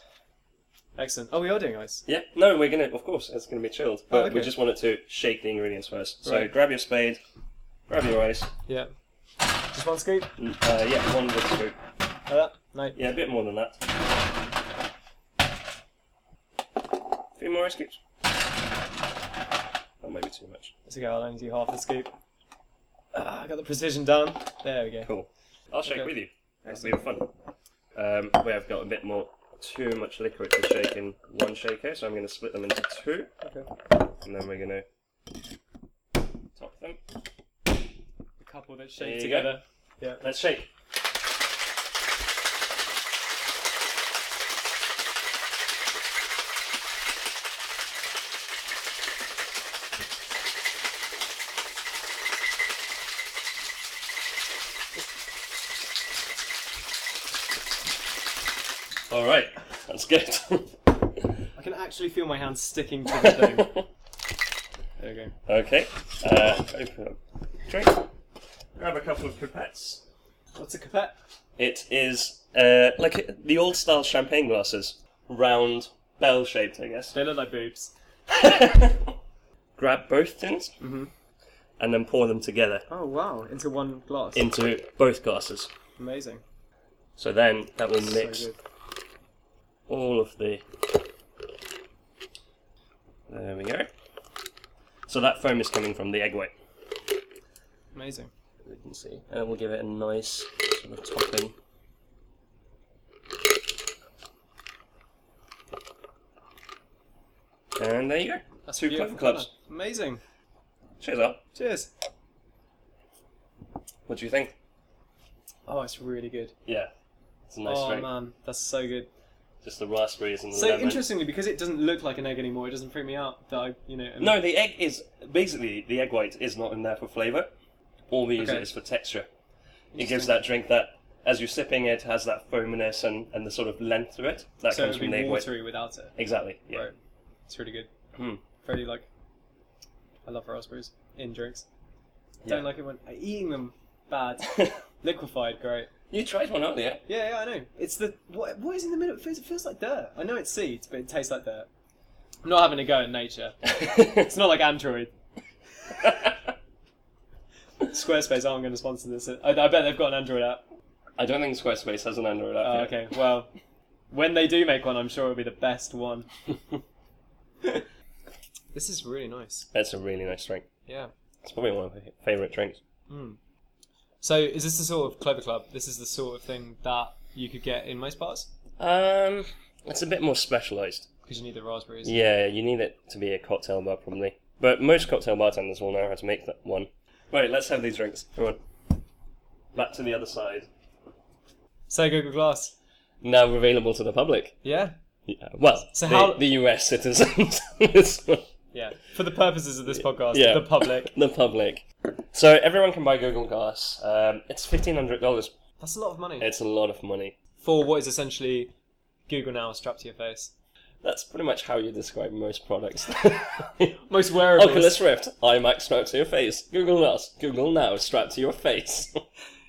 Speaker 2: Excellent. Oh, we are doing ice.
Speaker 1: Yeah. No, we're gonna. Of course, it's gonna be chilled, but we
Speaker 2: Oh, okay.
Speaker 1: just wanted to shake the ingredients first. So
Speaker 2: Right.
Speaker 1: grab your spade, grab your ice.
Speaker 2: Yeah. Just one scoop.
Speaker 1: and, Uh, yeah, one wood scoop.
Speaker 2: Like that. No.
Speaker 1: Yeah, a bit more than that. A few more ice cubes. That might be too much.
Speaker 2: It's okay, I'll only do half the scoop. Ah, I got the precision down. There we go.
Speaker 1: Cool. I'll shake
Speaker 2: Okay.
Speaker 1: with you. That's a bit of fun. Um, we have got a bit more, too much liquid to shake in one shaker, so I'm going to split them into two,
Speaker 2: Okay.
Speaker 1: and then we're going to top them.
Speaker 2: couple
Speaker 1: There
Speaker 2: that shake
Speaker 1: you go.
Speaker 2: together. Yeah.
Speaker 1: Let's shake. All right, that's good.
Speaker 2: I can actually feel my hands sticking to the thing. There we go.
Speaker 1: okay, uh, open up. Drink. Grab a couple of pipettes.
Speaker 2: What's a capette?
Speaker 1: It is uh, like the old style champagne glasses, round, bell shaped, I guess.
Speaker 2: They look like boobs.
Speaker 1: Grab both tins
Speaker 2: Mm-hmm.
Speaker 1: and then pour them together
Speaker 2: Oh wow! Into one glass.
Speaker 1: into both glasses.
Speaker 2: Amazing.
Speaker 1: So then that will
Speaker 2: So
Speaker 1: mix
Speaker 2: good.
Speaker 1: all of the. There we go. So that foam is coming from the egg white.
Speaker 2: Amazing.
Speaker 1: We can see. And we'll give it a nice sort of topping. And there you go.
Speaker 2: That's
Speaker 1: Two
Speaker 2: beautiful
Speaker 1: clever clubs.
Speaker 2: colour. Amazing.
Speaker 1: Cheers up.
Speaker 2: Cheers.
Speaker 1: What do you think?
Speaker 2: Oh, it's really good.
Speaker 1: Yeah, it's a nice
Speaker 2: oh
Speaker 1: drink.
Speaker 2: man, that's so good.
Speaker 1: Just the raspberries and the
Speaker 2: So
Speaker 1: lemon.
Speaker 2: interestingly, because it doesn't look like an egg anymore, it doesn't freak me out that I, you know. am-
Speaker 1: No, the egg is basically the egg white is not in there for flavour. All we use
Speaker 2: Okay.
Speaker 1: it is for texture. It gives
Speaker 2: Interesting.
Speaker 1: that drink that, as you're sipping it, has that foaminess and, and the sort of length to it that
Speaker 2: So
Speaker 1: comes
Speaker 2: it'd
Speaker 1: from the
Speaker 2: be
Speaker 1: egg white.
Speaker 2: watery without it.
Speaker 1: Exactly. Yeah.
Speaker 2: Right. It's really good.
Speaker 1: Hmm.
Speaker 2: Very like. I love raspberries in drinks.
Speaker 1: Yeah.
Speaker 2: Don't like it when I eating them. Bad. Liquefied, great.
Speaker 1: Hmm. you tried one earlier.
Speaker 2: Yeah, yeah, I know. It's the what, what is in the middle? It feels, it feels like dirt. I know it's seeds, but it tastes like dirt. I'm not having a go at nature. It's not like Android. Squarespace aren't going to sponsor this. I, I bet they've got an Android app.
Speaker 1: I don't think Squarespace has an Android app.
Speaker 2: Oh,
Speaker 1: yet.
Speaker 2: okay. Well, when they do make one, I'm sure it'll be the best one. this is really nice.
Speaker 1: That's a really nice drink.
Speaker 2: Yeah.
Speaker 1: It's probably one of my favourite drinks.
Speaker 2: So, is this the sort of Clover Club? This is the sort of thing that you could get in most bars
Speaker 1: Um, it's a bit more specialised.
Speaker 2: because you need the raspberries.
Speaker 1: Yeah, you need it to be a cocktail bar, probably. But most cocktail bartenders will know how to make that one. Right, let's have these drinks. Come on. Back to the other side.
Speaker 2: So, Google Glass.
Speaker 1: Now available to the public.
Speaker 2: Yeah.
Speaker 1: Yeah. Well,
Speaker 2: So
Speaker 1: the,
Speaker 2: how-
Speaker 1: the US citizens. the
Speaker 2: Yeah. For the purposes of this podcast,
Speaker 1: Yeah.
Speaker 2: the public.
Speaker 1: public. So everyone can buy Google Glass. Um, it's fifteen hundred dollars.
Speaker 2: That's a lot of money.
Speaker 1: It's a lot of money.
Speaker 2: For what is essentially Google Now strapped to your face.
Speaker 1: That's pretty much how you describe most products.
Speaker 2: Most wearables.
Speaker 1: Oculus Rift, iMac strapped to your face. Google Glass, Google Now strapped to your face.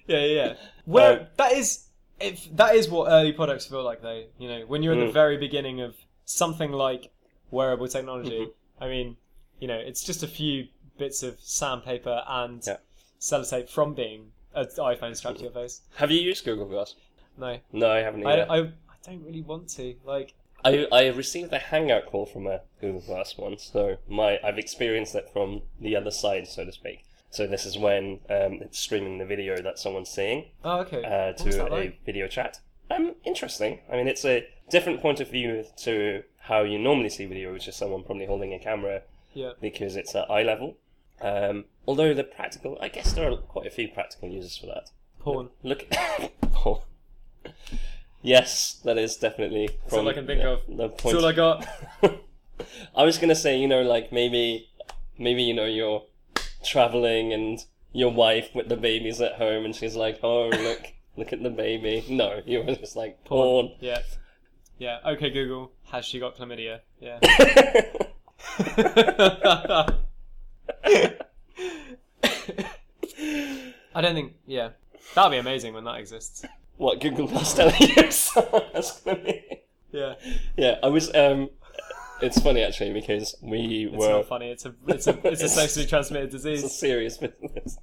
Speaker 2: Yeah, yeah. yeah. Where
Speaker 1: Um,
Speaker 2: that is, if that is what early products feel like, though. You know, when you're at the
Speaker 1: Mm.
Speaker 2: very beginning of something like wearable technology.
Speaker 1: Mm-hmm.
Speaker 2: I mean, you know, it's just a few bits of sandpaper and
Speaker 1: Yeah.
Speaker 2: sellotape from being an iPhone strapped to your face.
Speaker 1: have you used Google Glass?
Speaker 2: No,
Speaker 1: No, I haven't.
Speaker 2: I,
Speaker 1: either.
Speaker 2: don't- I, I don't really want to. Like,
Speaker 1: I I received a hangout call from a Google Glass once, so my I've experienced it from the other side, so to speak. So this is when um, it's streaming the video that someone's seeing
Speaker 2: oh, okay.
Speaker 1: uh,
Speaker 2: What was
Speaker 1: to
Speaker 2: that
Speaker 1: a
Speaker 2: like?
Speaker 1: video chat. Um, interesting. I mean, it's a different point of view to how you normally see video, which is someone probably holding a camera
Speaker 2: Yeah.
Speaker 1: because it's at eye level. Um, although the practical, I guess there are quite a few practical uses for that.
Speaker 2: Porn.
Speaker 1: Look. oh. Yes, that is definitely
Speaker 2: all I can think
Speaker 1: the-
Speaker 2: of.
Speaker 1: The
Speaker 2: That's
Speaker 1: point
Speaker 2: all I got.
Speaker 1: I was gonna say, you know, like maybe, maybe you know, you're traveling and your wife with the babies at home, and she's like, "Oh, look, look at the baby." No, you were just like porn.
Speaker 2: Yeah. Yeah. Okay, Google. Has she got chlamydia? Yeah. I don't think. Yeah, that'll be amazing when that exists.
Speaker 1: what Google Plus telling you? So that's gonna be.
Speaker 2: Yeah,
Speaker 1: Yeah, I was. Um, it's funny actually because we
Speaker 2: it's
Speaker 1: were
Speaker 2: not funny. It's a it's a it's a sexually transmitted
Speaker 1: It's a
Speaker 2: disease.
Speaker 1: serious business.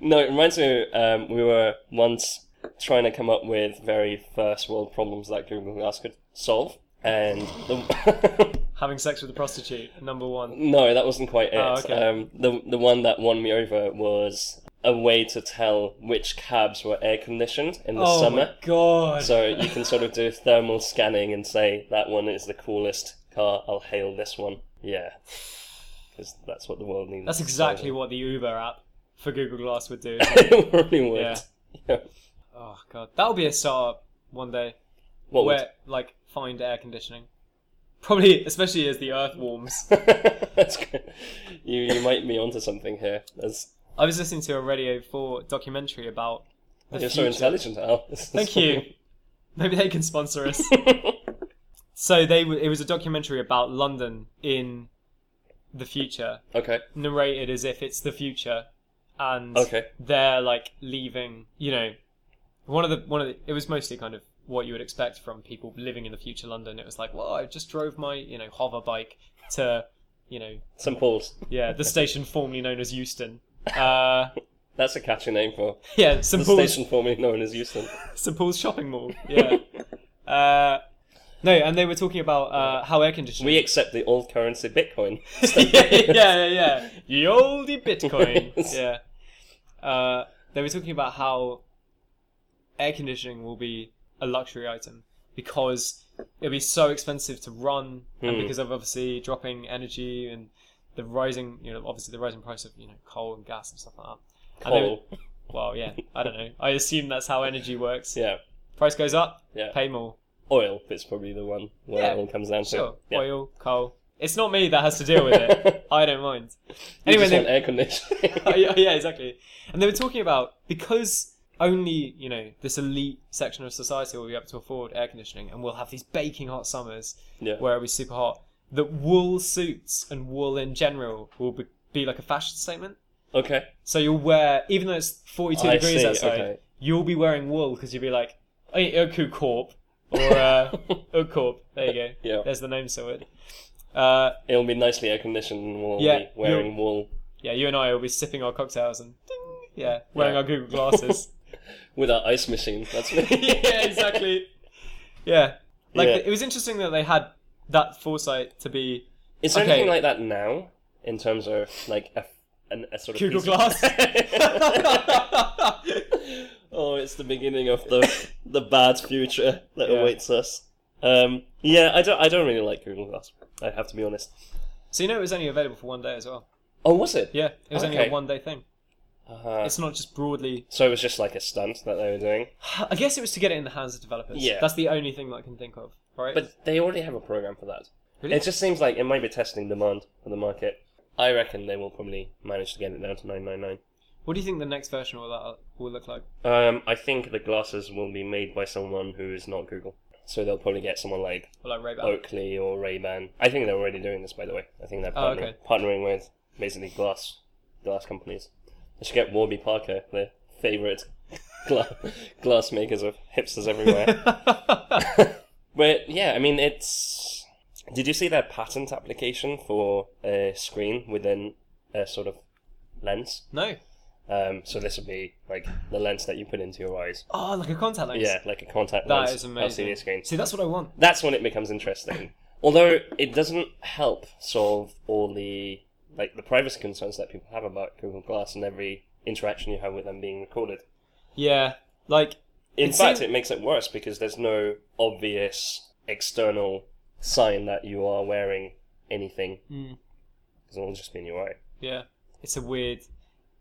Speaker 1: No, it reminds me. Um, we were once trying to come up with very first world problems that Google Glass could solve, and the,
Speaker 2: Having sex with a prostitute, number one.
Speaker 1: no, that wasn't quite it.
Speaker 2: Oh, okay.
Speaker 1: um, the the one that won me over was a way to tell which cabs were air conditioned in the
Speaker 2: oh my
Speaker 1: summer.
Speaker 2: god!
Speaker 1: So you can sort of do thermal scanning and say that one is the coolest car. I'll hail this one. Yeah, because that's what the world needs.
Speaker 2: That's exactly what the Uber app for Google Glass would do.
Speaker 1: it really would.
Speaker 2: Yeah.
Speaker 1: Yeah.
Speaker 2: oh god, that'll be a startup one day.
Speaker 1: What
Speaker 2: where like find air conditioning, probably especially as the Earth warms.
Speaker 1: would? That's good. You you might be onto something here. That's
Speaker 2: I was listening to a Radio Four documentary about. The
Speaker 1: you're so
Speaker 2: future.
Speaker 1: intelligent, Al. This is-
Speaker 2: Thank you. Maybe they can sponsor us. so they w- it was a documentary about London in the future,
Speaker 1: okay.
Speaker 2: narrated as if it's the future, and
Speaker 1: Okay.
Speaker 2: they're like leaving. You know, one of the one of the, it was mostly kind of what you would expect from people living in the future London. It was like, well, I just drove my you know hover bike to you know
Speaker 1: St Paul's.
Speaker 2: yeah the station formerly known as Euston. Uh,
Speaker 1: That's a catchy name for
Speaker 2: yeah, St
Speaker 1: the
Speaker 2: Paul's
Speaker 1: station formerly known as Euston.
Speaker 2: St Paul's shopping mall. Yeah. uh, no, and they were talking about uh, how air conditioning.
Speaker 1: We accept the old currency Bitcoin.
Speaker 2: yeah, yeah, yeah. Ye olde Bitcoin.
Speaker 1: Yes.
Speaker 2: yeah. Uh, they were talking about how air conditioning will be a luxury item because it'll be so expensive to run, and
Speaker 1: Hmm.
Speaker 2: because of obviously dropping energy and the rising, you know, obviously the rising price of you know coal and gas and stuff like that. And they-
Speaker 1: Coal.
Speaker 2: well, yeah, I don't know. I assume that's how energy works.
Speaker 1: Yeah.
Speaker 2: Price goes up,
Speaker 1: Yeah.
Speaker 2: pay more.
Speaker 1: Oil is probably the one where
Speaker 2: Yeah,
Speaker 1: it all comes down to.
Speaker 2: Sure,
Speaker 1: Yeah.
Speaker 2: oil, coal. It's not me that has to deal with it. I don't mind.
Speaker 1: You
Speaker 2: Anyway,
Speaker 1: just
Speaker 2: they-
Speaker 1: want air conditioning.
Speaker 2: Oh, yeah, yeah, exactly. And they were talking about because only you know this elite section of society will be able to afford air conditioning, and we'll have these baking hot summers
Speaker 1: yeah.
Speaker 2: where it'll be super hot. That wool suits and wool in general will be, be like a fashion statement.
Speaker 1: Okay.
Speaker 2: So you'll wear, even though it's forty-two
Speaker 1: I
Speaker 2: degrees
Speaker 1: see,
Speaker 2: outside,
Speaker 1: okay.
Speaker 2: you'll be wearing wool because you'll be like, "Hey, Urku Corp." Or uh, Urk Corp. There you go.
Speaker 1: Yeah.
Speaker 2: There's the name so it. Uh,
Speaker 1: It'll be nicely air conditioned and we'll
Speaker 2: Yeah,
Speaker 1: be wearing wool
Speaker 2: yeah, you and I will be sipping our cocktails and ding, yeah, wearing
Speaker 1: Yeah.
Speaker 2: our Google glasses.
Speaker 1: with our ice machine. That's me.
Speaker 2: yeah, exactly. Yeah. Like
Speaker 1: Yeah.
Speaker 2: it was interesting that they had that foresight to be
Speaker 1: Is there
Speaker 2: Okay.
Speaker 1: anything like that now in terms of like a, an, a sort of
Speaker 2: Google
Speaker 1: piece
Speaker 2: Glass.
Speaker 1: Of... oh, it's the beginning of the the bad future that
Speaker 2: Yeah.
Speaker 1: awaits us. Um, yeah, I don't I don't really like Google Glass. I have to be honest.
Speaker 2: so you know it was only available for one day as well.
Speaker 1: Oh, was it?
Speaker 2: Yeah, it was only
Speaker 1: Okay.
Speaker 2: a one day thing.
Speaker 1: Uh,
Speaker 2: It's not just broadly.
Speaker 1: so it was just like a stunt that they were doing.
Speaker 2: I guess it was to get it in the hands of developers.
Speaker 1: Yeah.
Speaker 2: that's the only thing that I can think of. Right,
Speaker 1: But they already have a program for that.
Speaker 2: Really?
Speaker 1: It just seems like it might be testing demand for the market. I reckon they will probably manage to get it down to nine nine nine.
Speaker 2: what do you think the next version will that will look like?
Speaker 1: Um, I think the glasses will be made by someone who is not Google. So they'll probably get someone like
Speaker 2: Or like Ray Ban?
Speaker 1: Oakley or Ray Ban. I think they're already doing this, by the way. I think they're
Speaker 2: Oh,
Speaker 1: partnering,
Speaker 2: okay.
Speaker 1: partnering with basically glass glass companies. They should get Warby Parker, their favourite gla- glass makers of hipsters everywhere. Oh. but yeah, I mean, it's. Did you see their patent application for a screen within a sort of lens?
Speaker 2: no.
Speaker 1: Um, so this would be like the lens that you put into your eyes.
Speaker 2: Oh, like a contact lens.
Speaker 1: Yeah, like a contact
Speaker 2: That
Speaker 1: lens
Speaker 2: is amazing.
Speaker 1: LCD screen.
Speaker 2: See, that's what I want.
Speaker 1: That's when it becomes interesting. Although it doesn't help solve all the like the privacy concerns that people have about Google Glass and every interaction you have with them being recorded.
Speaker 2: Yeah, like
Speaker 1: In
Speaker 2: It
Speaker 1: fact,
Speaker 2: seem-
Speaker 1: it makes it worse because there's no obvious external sign that you are wearing anything.
Speaker 2: Mm.
Speaker 1: Because it'll just be in your eye.
Speaker 2: yeah, it's a weird.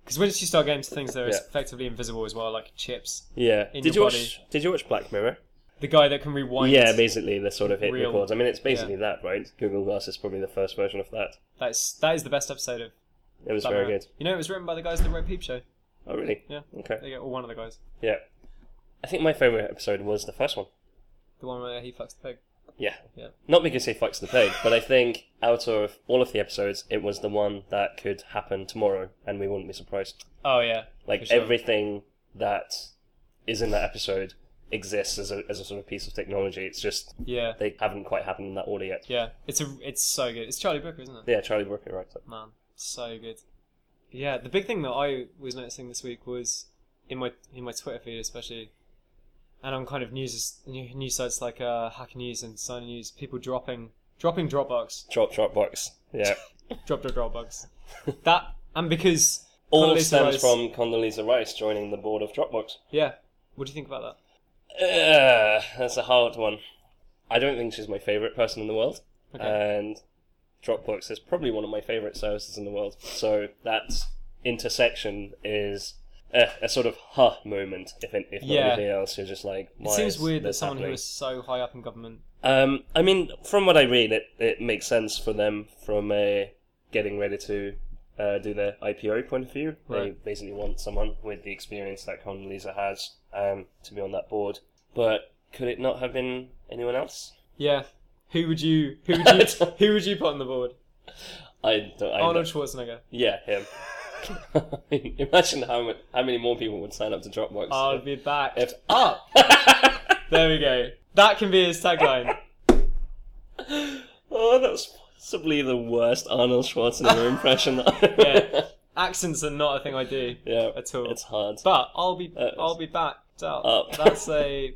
Speaker 2: Because once you start getting to things that are
Speaker 1: Yeah.
Speaker 2: effectively invisible as well, like chips,
Speaker 1: Yeah.
Speaker 2: In
Speaker 1: did
Speaker 2: your
Speaker 1: you watch? Did you watch Black Mirror?
Speaker 2: the guy that can rewind.
Speaker 1: Yeah, basically the sort of hit
Speaker 2: Real-
Speaker 1: records. I mean, it's basically that, right? Google Glass is probably the first version of that.
Speaker 2: That's that is the best episode of.
Speaker 1: It was
Speaker 2: Black
Speaker 1: very
Speaker 2: Mirror.
Speaker 1: good.
Speaker 2: You know, it was written by the guys that wrote Peep Show.
Speaker 1: Oh, really?
Speaker 2: Yeah.
Speaker 1: Okay.
Speaker 2: There you go, or one of the guys,
Speaker 1: Yeah. I think my favourite episode was the first one.
Speaker 2: the one where he fucks the pig.
Speaker 1: Yeah.
Speaker 2: Yeah.
Speaker 1: Not because he fucks the pig, but I think out of all of the episodes, it was the one that could happen tomorrow and we wouldn't be surprised.
Speaker 2: Oh yeah,
Speaker 1: Like
Speaker 2: For sure.
Speaker 1: everything that is in that episode exists as a, as a sort of piece of technology. It's just
Speaker 2: yeah,
Speaker 1: they haven't quite happened in that order yet.
Speaker 2: yeah. It's a, it's so good. It's Charlie Brooker, isn't it?
Speaker 1: Yeah, Charlie Brooker writes it.
Speaker 2: Man, so good. Yeah, the big thing that I was noticing this week was in my in my Twitter feed, especially, and on kind of news new- news sites like uh, Hacker News and Sign News, people dropping dropping Dropbox,
Speaker 1: Drop, drop box. Yeah.
Speaker 2: drop drop Dropbox. that and because
Speaker 1: All
Speaker 2: Condoleezza
Speaker 1: stems
Speaker 2: Rice-
Speaker 1: from Condoleezza Rice joining the board of Dropbox.
Speaker 2: yeah. What do you think about that?
Speaker 1: Uh, that's a hard one. I don't think she's my favourite person in the world.
Speaker 2: Okay.
Speaker 1: And Dropbox is probably one of my favourite services in the world. So that's intersection is a, a sort of huh moment. If it- if not
Speaker 2: Yeah.
Speaker 1: anything else, you're just like,
Speaker 2: It
Speaker 1: why
Speaker 2: seems
Speaker 1: is
Speaker 2: weird that
Speaker 1: this
Speaker 2: someone who
Speaker 1: happening?
Speaker 2: is so high up in government.
Speaker 1: Um, I mean, from what I read, it, it makes sense for them from uh, getting ready to uh, do their IPO point of view.
Speaker 2: Right.
Speaker 1: They basically want someone with the experience that Condoleezza has um, to be on that board. But could it not have been anyone else?
Speaker 2: Yeah. Who would you? Who would you? who would you put on the board?
Speaker 1: I don't. I
Speaker 2: Arnold
Speaker 1: don't-
Speaker 2: Schwarzenegger.
Speaker 1: Yeah, him. I mean, Imagine how much, how many more people would sign up to Dropbox.
Speaker 2: I'll be back.
Speaker 1: if
Speaker 2: Up. There we go. That can be his tagline.
Speaker 1: oh, that's possibly the worst Arnold Schwarzenegger impression. That I've
Speaker 2: Yeah. Accents are not a thing I do
Speaker 1: yeah,
Speaker 2: at all.
Speaker 1: it's hard.
Speaker 2: But I'll be
Speaker 1: Uh,
Speaker 2: I'll be backed up.
Speaker 1: up.
Speaker 2: That's a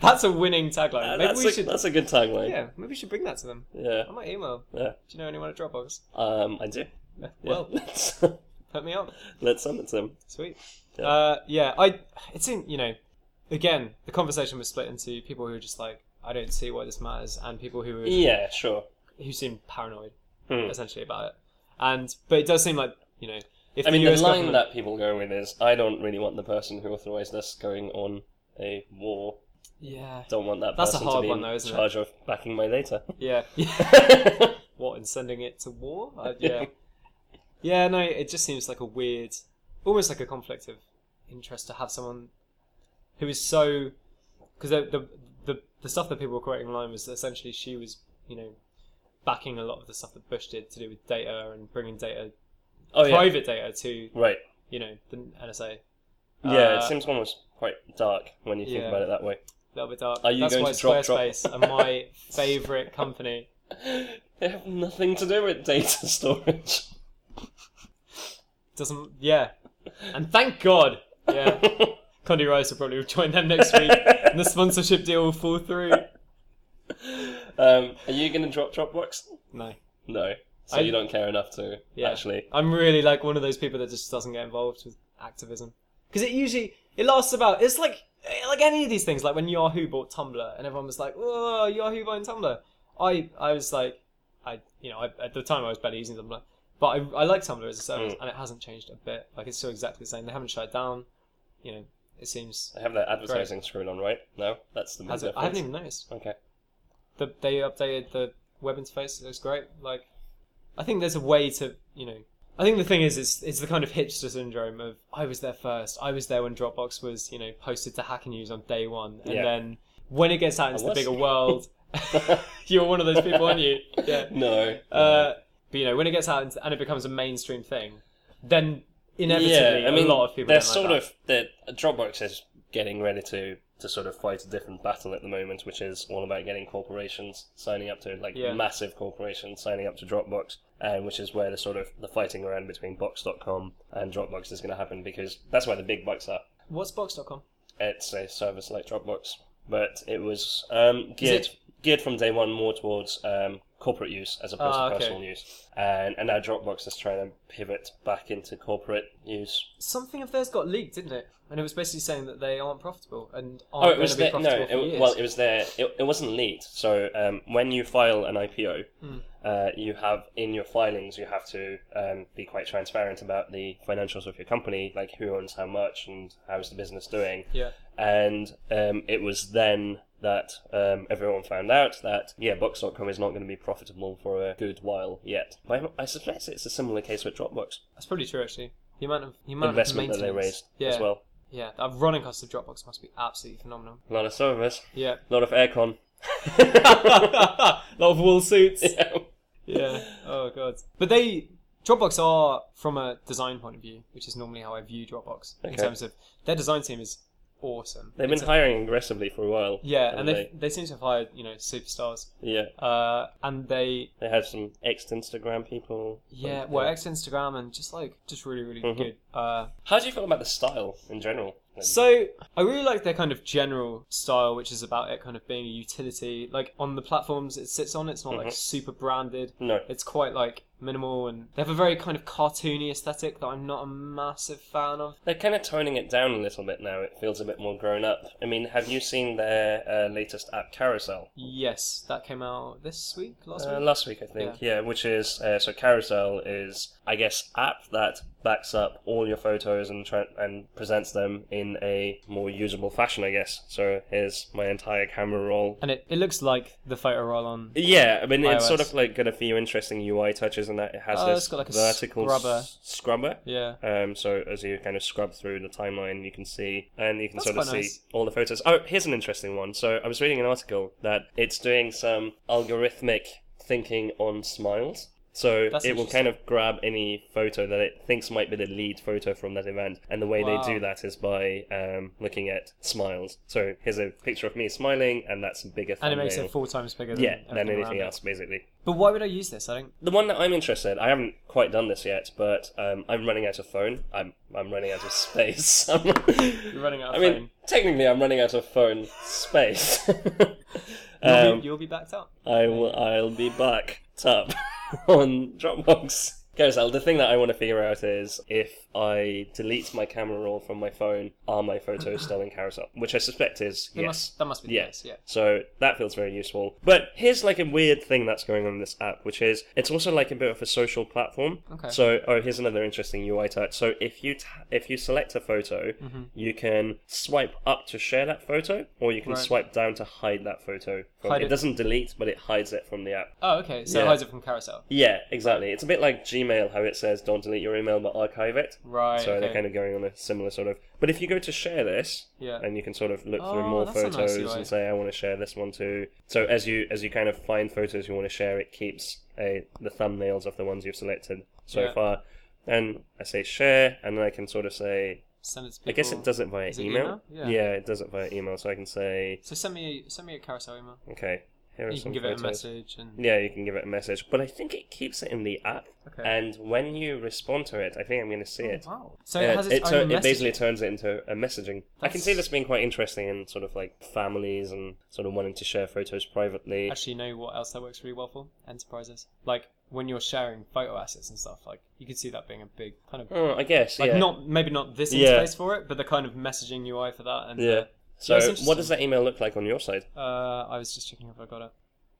Speaker 2: that's a winning tagline.
Speaker 1: Uh,
Speaker 2: maybe
Speaker 1: that's,
Speaker 2: we
Speaker 1: a,
Speaker 2: should
Speaker 1: that's a good tagline.
Speaker 2: yeah maybe we should bring that to them.
Speaker 1: Yeah.
Speaker 2: I might email.
Speaker 1: Yeah.
Speaker 2: Do you know anyone at Dropbox?
Speaker 1: Um, I do.
Speaker 2: Yeah.
Speaker 1: Yeah.
Speaker 2: Well,
Speaker 1: let's,
Speaker 2: put me on.
Speaker 1: let's summon them.
Speaker 2: Sweet.
Speaker 1: Yeah.
Speaker 2: Uh, yeah, I. It's in you know, again, the conversation was split into people who are just like, I don't see why this matters, and people who were,
Speaker 1: Yeah, sure.
Speaker 2: who seem paranoid
Speaker 1: Hmm.
Speaker 2: essentially about it. And but it does seem like you know, if
Speaker 1: I mean,
Speaker 2: the
Speaker 1: the
Speaker 2: US
Speaker 1: line
Speaker 2: government-
Speaker 1: that people go with is, "I don't really want the person who authorized this going on a war.
Speaker 2: yeah,
Speaker 1: Don't want that
Speaker 2: That's a
Speaker 1: person
Speaker 2: hard
Speaker 1: to be
Speaker 2: one
Speaker 1: in
Speaker 2: though, isn't it?
Speaker 1: charge of backing my data."
Speaker 2: yeah, what and sending it to war? Uh, yeah, yeah. No, it just seems like a weird, almost like a conflict of interest to have someone who is so because the, the the the stuff that people were quoting online was essentially she was you know backing a lot of the stuff that Bush did to do with data and bringing data
Speaker 1: oh yeah,
Speaker 2: private data to
Speaker 1: right.
Speaker 2: you know the NSA.
Speaker 1: Yeah,
Speaker 2: Uh,
Speaker 1: it seems almost quite dark when you think
Speaker 2: yeah.
Speaker 1: about it that way.
Speaker 2: a little bit dark.
Speaker 1: Are you
Speaker 2: That's
Speaker 1: going
Speaker 2: why
Speaker 1: to drop- drop-
Speaker 2: Squarespace are my favorite company.
Speaker 1: They have nothing to do with data storage.
Speaker 2: Doesn't yeah, and thank God yeah. Condi Rice will probably join them next week, and the sponsorship deal will fall through.
Speaker 1: um, are you going to drop Dropbox?
Speaker 2: No,
Speaker 1: No. So
Speaker 2: I-
Speaker 1: you don't care enough to
Speaker 2: Yeah.
Speaker 1: actually.
Speaker 2: I'm really like one of those people that just doesn't get involved with activism because it usually it lasts about. It's like eh, like any of these things. Like when Yahoo bought Tumblr, and everyone was like, "Oh, Yahoo buying Tumblr." I I was like, I you know I, at the time I was barely using Tumblr, but I I like Tumblr as a service,
Speaker 1: Mm.
Speaker 2: and it hasn't changed a bit. Like it's still exactly the same. They haven't shut it down. You know, it seems.
Speaker 1: I have that advertising screwed on, right? No, that's the main
Speaker 2: Has it,
Speaker 1: difference.
Speaker 2: I haven't even noticed.
Speaker 1: Okay.
Speaker 2: the, they updated the web interface. It looks great. Like, I think there's a way to you know. I think the thing is, it's it's the kind of hipster syndrome of I was there first. I was there when Dropbox was you know posted to Hacker News on day one, and
Speaker 1: Yeah.
Speaker 2: then when it gets out into the
Speaker 1: was.
Speaker 2: bigger world, you're one of those people, aren't you? Yeah.
Speaker 1: No.
Speaker 2: Uh, but you know when it gets out into, and it becomes a mainstream thing, then inevitably
Speaker 1: yeah, I mean,
Speaker 2: a lot of people
Speaker 1: They're
Speaker 2: don't
Speaker 1: sort
Speaker 2: like
Speaker 1: of the Dropbox is getting ready to to sort of fight a different battle at the moment, which is all about getting corporations signing up to like
Speaker 2: Yeah.
Speaker 1: massive corporations signing up to Dropbox, and which is where the sort of the fighting around between Box.com and Dropbox is going to happen because that's where the big bucks are.
Speaker 2: that. What's Box.com?
Speaker 1: It's a service like Dropbox, but it was um, geared
Speaker 2: it-
Speaker 1: geared from day one more towards um, corporate use as opposed
Speaker 2: Ah,
Speaker 1: to
Speaker 2: okay.
Speaker 1: personal use, and and now Dropbox is trying to pivot back into corporate use.
Speaker 2: Something of theirs got leaked, didn't it? And it was basically saying that they aren't profitable and aren't
Speaker 1: Oh, it
Speaker 2: going
Speaker 1: was
Speaker 2: to be
Speaker 1: there. No,
Speaker 2: profitable
Speaker 1: it,
Speaker 2: for years.
Speaker 1: well, it was there. It, it wasn't leaked. So um, when you file an IPO,
Speaker 2: Hmm.
Speaker 1: uh, you have in your filings you have to um, be quite transparent about the financials of your company, like who owns how much and how's the business doing.
Speaker 2: yeah.
Speaker 1: and um, it was then that um, everyone found out that yeah, Box.com is not going to be profitable for a good while yet. I, I suspect it's a similar case with Dropbox
Speaker 2: That's probably true, actually. The amount of the amount
Speaker 1: investment
Speaker 2: of
Speaker 1: that they
Speaker 2: maintenance-
Speaker 1: raised
Speaker 2: yeah,
Speaker 1: as well.
Speaker 2: Yeah, the running cost of Dropbox must be absolutely phenomenal.
Speaker 1: A lot of servers,
Speaker 2: Yeah,
Speaker 1: a lot of aircon.
Speaker 2: a lot of wool suits.
Speaker 1: yeah.
Speaker 2: Yeah. Oh god. But they Dropbox are from a design point of view, which is normally how I view Dropbox in
Speaker 1: Okay.
Speaker 2: terms of their design team is awesome.
Speaker 1: They've
Speaker 2: It's
Speaker 1: been hiring aggressively for a while.
Speaker 2: a- yeah, and
Speaker 1: haven't
Speaker 2: they they seem to have hired you know superstars.
Speaker 1: they yeah
Speaker 2: Uh, and they
Speaker 1: they had some ex Instagram people.
Speaker 2: yeah,
Speaker 1: Like,
Speaker 2: well,
Speaker 1: uh,
Speaker 2: ex Instagram and just like just really really
Speaker 1: Mhm.
Speaker 2: good. Uh,
Speaker 1: how do you feel about the style in general? then?
Speaker 2: So I really like their kind of general style, which is about it kind of being a utility. Like on the platforms it sits on, it's not like
Speaker 1: Mhm.
Speaker 2: super branded.
Speaker 1: no,
Speaker 2: It's quite like minimal, and they have a very kind of cartoony aesthetic that I'm not a massive fan of.
Speaker 1: They're kind of toning it down a little bit now. It feels a bit more grown up. I mean, have you seen their uh, latest app, Carousel?
Speaker 2: Yes, that came out this week, last
Speaker 1: Uh,
Speaker 2: week.
Speaker 1: last week, I think. Yeah, which is uh, so Carousel is, I guess, app that backs up all your photos and try- and presents them in a more usable fashion, I guess. So here's my entire camera roll.
Speaker 2: And it, it looks like the photo roll on.
Speaker 1: Yeah, I mean it's sort
Speaker 2: iOS.
Speaker 1: of like got a few interesting UI touches in that it has
Speaker 2: Oh,
Speaker 1: this
Speaker 2: it's got like a
Speaker 1: vertical
Speaker 2: scrubber.
Speaker 1: s- scrubber.
Speaker 2: Yeah.
Speaker 1: Um, so as you kind of scrub through the timeline, you can see, and you can
Speaker 2: That's
Speaker 1: sort of
Speaker 2: quite
Speaker 1: see
Speaker 2: nice.
Speaker 1: all the photos. Oh, here's an interesting one. So I was reading an article that it's doing some algorithmic thinking on smiles. So
Speaker 2: That's
Speaker 1: it will
Speaker 2: interesting.
Speaker 1: kind of grab any photo that it thinks might be the lead photo from that event, and the way
Speaker 2: Wow.
Speaker 1: they do that is by um, looking at smiles. So here's a picture of me smiling, and that's a bigger
Speaker 2: And
Speaker 1: thumbnail.
Speaker 2: it makes it four times bigger than,
Speaker 1: yeah, than
Speaker 2: everything
Speaker 1: anything
Speaker 2: around it.
Speaker 1: else, basically.
Speaker 2: But why would I use this? I don't.
Speaker 1: The one that I'm interested, I haven't quite done this yet, but um, I'm running out of phone. I'm I'm running out of space. I'm-
Speaker 2: You're running out
Speaker 1: I
Speaker 2: of
Speaker 1: mean,
Speaker 2: phone.
Speaker 1: technically, I'm running out of phone space.
Speaker 2: You'll,
Speaker 1: um,
Speaker 2: be, you'll be backed up.
Speaker 1: I will. I'll be back up on Dropbox. Carousel. The thing that I want to figure out is if I delete my camera roll from my phone, are my photos still in Carousel? Which I suspect is
Speaker 2: That
Speaker 1: yes.
Speaker 2: must, that must be the
Speaker 1: Yeah.
Speaker 2: case, yeah.
Speaker 1: So that feels very useful. But here's like a weird thing that's going on in this app, which is it's also like a bit of a social platform.
Speaker 2: Okay.
Speaker 1: So oh, here's another interesting UI touch. So if you ta if you select a photo,
Speaker 2: Mm-hmm.
Speaker 1: you can swipe up to share that photo, or you can
Speaker 2: Right.
Speaker 1: swipe down to hide that photo. From,
Speaker 2: Hide
Speaker 1: it
Speaker 2: it.
Speaker 1: doesn't delete, but it hides it from the app.
Speaker 2: Oh, okay. So
Speaker 1: Yeah.
Speaker 2: it hides it from carousel.
Speaker 1: Yeah, exactly. It's a bit like Gmail, how it says don't delete your email but archive it.
Speaker 2: Right.
Speaker 1: So
Speaker 2: okay.
Speaker 1: they're kind of going on a similar sort of. But if you go to share this,
Speaker 2: Yeah.
Speaker 1: and you can sort of look through
Speaker 2: Oh,
Speaker 1: more
Speaker 2: that's a nice
Speaker 1: photos
Speaker 2: UI.
Speaker 1: and say I want to share this one too. So as you as you kind of find photos you want to share, it keeps a, the thumbnails of the ones you've selected so
Speaker 2: Yeah.
Speaker 1: far. And I say share, and then I can sort of say
Speaker 2: Send it to people.
Speaker 1: I guess it does it via
Speaker 2: Is it
Speaker 1: email.
Speaker 2: email? Yeah.
Speaker 1: it does it via email. So I can say
Speaker 2: So send me, send me a carousel email.
Speaker 1: okay, here are
Speaker 2: You
Speaker 1: some
Speaker 2: can give
Speaker 1: photos.
Speaker 2: it a message and.
Speaker 1: Yeah, you can give it a message, but I think it keeps it in the app.
Speaker 2: Okay.
Speaker 1: And when you respond to it, I think I'm going to see it.
Speaker 2: Oh, wow. So
Speaker 1: Uh,
Speaker 2: it has its
Speaker 1: tur-
Speaker 2: own
Speaker 1: it basically
Speaker 2: message.
Speaker 1: turns it into a messaging. I can
Speaker 2: That's-
Speaker 1: see this being quite interesting in sort of like families and sort of wanting to share photos privately.
Speaker 2: Actually, you know what else that works really well for? Enterprises. Like when you're sharing photo assets and stuff, like you could see that being a big kind of
Speaker 1: Oh, I guess.
Speaker 2: like
Speaker 1: yeah.
Speaker 2: not maybe not this
Speaker 1: Yeah.
Speaker 2: interface for it, but the kind of messaging UI for that. And
Speaker 1: Yeah. So,
Speaker 2: that's
Speaker 1: what
Speaker 2: interesting.
Speaker 1: does that email look like on your side?
Speaker 2: uh, I was just checking if I got it.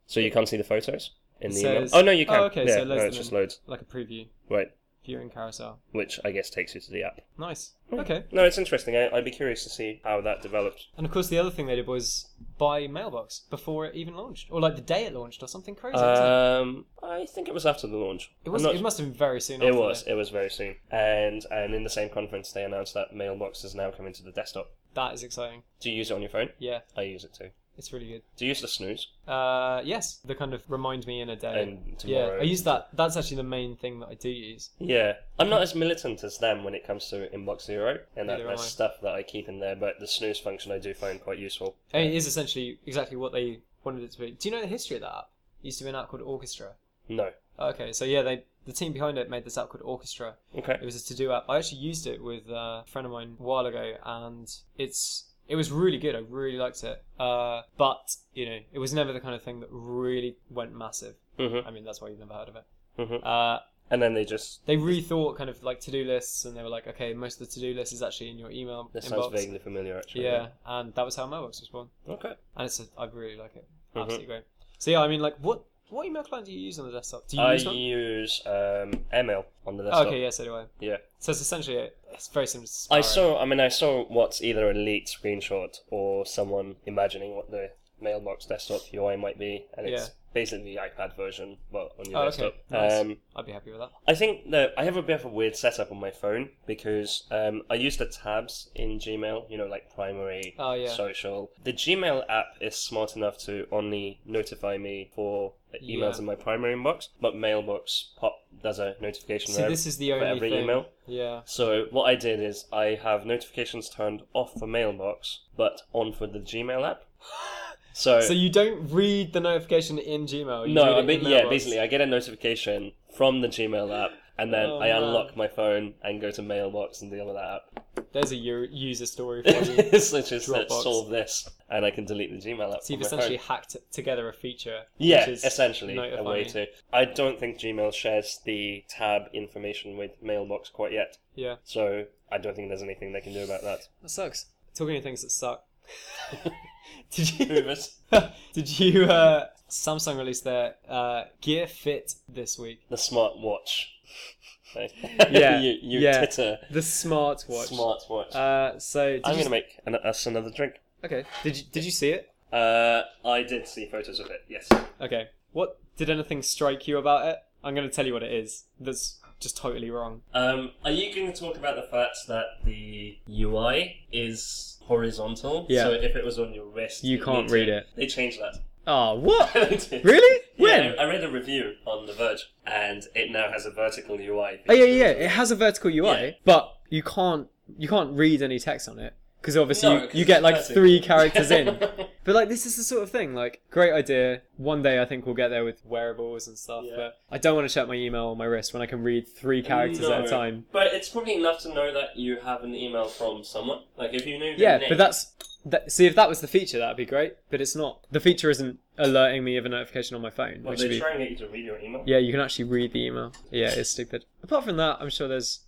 Speaker 1: So you can't see the photos in
Speaker 2: It
Speaker 1: the email.
Speaker 2: says-
Speaker 1: Oh no, you can.
Speaker 2: Oh, okay,
Speaker 1: yeah,
Speaker 2: so it loads
Speaker 1: no,
Speaker 2: them
Speaker 1: it's just
Speaker 2: in.
Speaker 1: loads.
Speaker 2: Like a preview,
Speaker 1: Right,
Speaker 2: viewing carousel.
Speaker 1: which I guess takes you to the app.
Speaker 2: Nice. Okay.
Speaker 1: No, it's interesting. I, I'd be curious to see how that developed.
Speaker 2: And of course, the other thing they did was buy Mailbox before it even launched, or like the day it launched, or something crazy. wasn't it?
Speaker 1: Um, I think it was after the launch.
Speaker 2: It
Speaker 1: I'm
Speaker 2: was.
Speaker 1: not
Speaker 2: It must have been very soon.
Speaker 1: It
Speaker 2: after
Speaker 1: was.
Speaker 2: though.
Speaker 1: It was very soon. And and in the same conference, they announced that Mailbox is now coming to the desktop.
Speaker 2: That is exciting.
Speaker 1: Do you use it on your phone?
Speaker 2: Yeah,
Speaker 1: I use it too.
Speaker 2: it's really good.
Speaker 1: Do you use the snooze?
Speaker 2: Uh, yes, the kind of remind me in a day.
Speaker 1: And
Speaker 2: Uh, yeah,
Speaker 1: tomorrow.
Speaker 2: I use that. That's actually the main thing that I do use.
Speaker 1: Yeah, I'm not as militant as them when it comes to inbox zero, and that
Speaker 2: Neither
Speaker 1: there's
Speaker 2: am I.
Speaker 1: stuff that I keep in there. But the snooze function I do find quite useful.
Speaker 2: I mean, it is essentially exactly what they wanted it to be. Do you know the history of that app? It used to be an app called Orchestra.
Speaker 1: No.
Speaker 2: Okay, so yeah, they the team behind it made this app called Orchestra.
Speaker 1: Okay.
Speaker 2: It was a to do app. I actually used it with uh, a friend of mine a while ago, and it's it was really good. I really liked it. Uh, but you know, it was never the kind of thing that really went massive.
Speaker 1: Mm-hmm.
Speaker 2: I mean, that's why you've never heard of it.
Speaker 1: hmm
Speaker 2: Uh,
Speaker 1: And then they just
Speaker 2: they rethought kind of like to do lists, and they were like, okay, most of the to do list is actually in your email
Speaker 1: this
Speaker 2: inbox.
Speaker 1: sounds vaguely familiar actually.
Speaker 2: Yeah, and that was how Mailbox was born.
Speaker 1: Okay.
Speaker 2: and it's a, I really like it.
Speaker 1: Mm-hmm.
Speaker 2: Absolutely great. So yeah, I mean, like, what what email client do you use on the desktop? Do you
Speaker 1: I
Speaker 2: use one?
Speaker 1: use um, Airmail on the
Speaker 2: Oh,
Speaker 1: desktop.
Speaker 2: okay, yeah, so do I.
Speaker 1: Yeah.
Speaker 2: So it's essentially it. It's very similar. To Sparrow.
Speaker 1: I saw. I mean, I saw what's either a leaked screenshot or someone imagining what the mailbox desktop UI might be, and it's
Speaker 2: Yeah.
Speaker 1: basically the iPad version, but on your
Speaker 2: Oh, okay.
Speaker 1: desktop.
Speaker 2: Nice.
Speaker 1: Um,
Speaker 2: I'd be happy with that.
Speaker 1: I think that I have a bit of a weird setup on my phone because um, I use the tabs in Gmail. You know, like primary,
Speaker 2: Oh, yeah.
Speaker 1: social. The Gmail app is smart enough to only notify me for emails
Speaker 2: Yeah.
Speaker 1: in my primary inbox, but Mailbox pop does a notification
Speaker 2: See,
Speaker 1: there
Speaker 2: this is the
Speaker 1: for
Speaker 2: only
Speaker 1: every
Speaker 2: thing.
Speaker 1: email.
Speaker 2: Yeah.
Speaker 1: So what I did is I have notifications turned off for Mailbox, but on for the Gmail app. So,
Speaker 2: So you don't read the notification in Gmail. You
Speaker 1: no,
Speaker 2: read
Speaker 1: I
Speaker 2: it
Speaker 1: mean,
Speaker 2: in
Speaker 1: yeah,
Speaker 2: Mailbox.
Speaker 1: basically I get a notification from the Gmail app, and then
Speaker 2: Oh,
Speaker 1: I
Speaker 2: man.
Speaker 1: unlock my phone and go to Mailbox and deal with that app.
Speaker 2: There's a u- user story for you.
Speaker 1: it's like just let's
Speaker 2: Dropbox.
Speaker 1: solve this, and I can delete the Gmail app.
Speaker 2: so
Speaker 1: from
Speaker 2: you've
Speaker 1: my phone.
Speaker 2: essentially hacked together a feature.
Speaker 1: Yeah,
Speaker 2: which is
Speaker 1: essentially a
Speaker 2: notify
Speaker 1: way
Speaker 2: me.
Speaker 1: to. I don't think Gmail shares the tab information with Mailbox quite yet,
Speaker 2: Yeah,
Speaker 1: so I don't think there's anything they can do about that.
Speaker 2: that sucks. Talking of things that suck. Did you?
Speaker 1: Hoovers.
Speaker 2: Did you? Uh, Samsung released their uh, Gear Fit this week.
Speaker 1: the smart watch. say.
Speaker 2: Yeah,
Speaker 1: you you
Speaker 2: yeah.
Speaker 1: titter
Speaker 2: The smartwatch.
Speaker 1: smartwatch.
Speaker 2: Uh, so did
Speaker 1: I'm going
Speaker 2: you
Speaker 1: to make an, us another drink.
Speaker 2: okay. Did you did you see it?
Speaker 1: Uh, I did see photos of it. Yes.
Speaker 2: Okay. What did anything strike you about it? I'm going to tell you what it is. That's just totally wrong.
Speaker 1: Um, are you going to talk about the fact that the UI is horizontal?
Speaker 2: Yeah.
Speaker 1: So if it was on your wrist,
Speaker 2: You
Speaker 1: you'd
Speaker 2: can't
Speaker 1: need to-
Speaker 2: read it.
Speaker 1: They changed that.
Speaker 2: Oh, what?
Speaker 1: They did.
Speaker 2: really? When?
Speaker 1: Yeah, I I read a review on The Verge, and it now has a vertical UI.
Speaker 2: Oh yeah, yeah, yeah. It has a vertical UI,
Speaker 1: Yeah.
Speaker 2: but you can't you can't read any text on it because obviously
Speaker 1: No,
Speaker 2: you,
Speaker 1: 'cause
Speaker 2: you
Speaker 1: it's
Speaker 2: get like
Speaker 1: vertical.
Speaker 2: three characters in. But like this is the sort of thing like great idea. One day I think we'll get there with wearables and stuff.
Speaker 1: Yeah.
Speaker 2: But I don't want to check my email on my wrist when I can read three characters
Speaker 1: No,
Speaker 2: at a time.
Speaker 1: But it's probably enough to know that you have an email from someone. Like if you knew. Their
Speaker 2: Yeah,
Speaker 1: name,
Speaker 2: but that's that, see if that was the feature that'd be great. But it's not. The feature isn't alerting me of a notification on my phone.
Speaker 1: Well,
Speaker 2: which would
Speaker 1: they
Speaker 2: be,
Speaker 1: try and get you to read your email.
Speaker 2: yeah, you can actually read the email. Yeah, it's stupid. Apart from that, I'm sure there's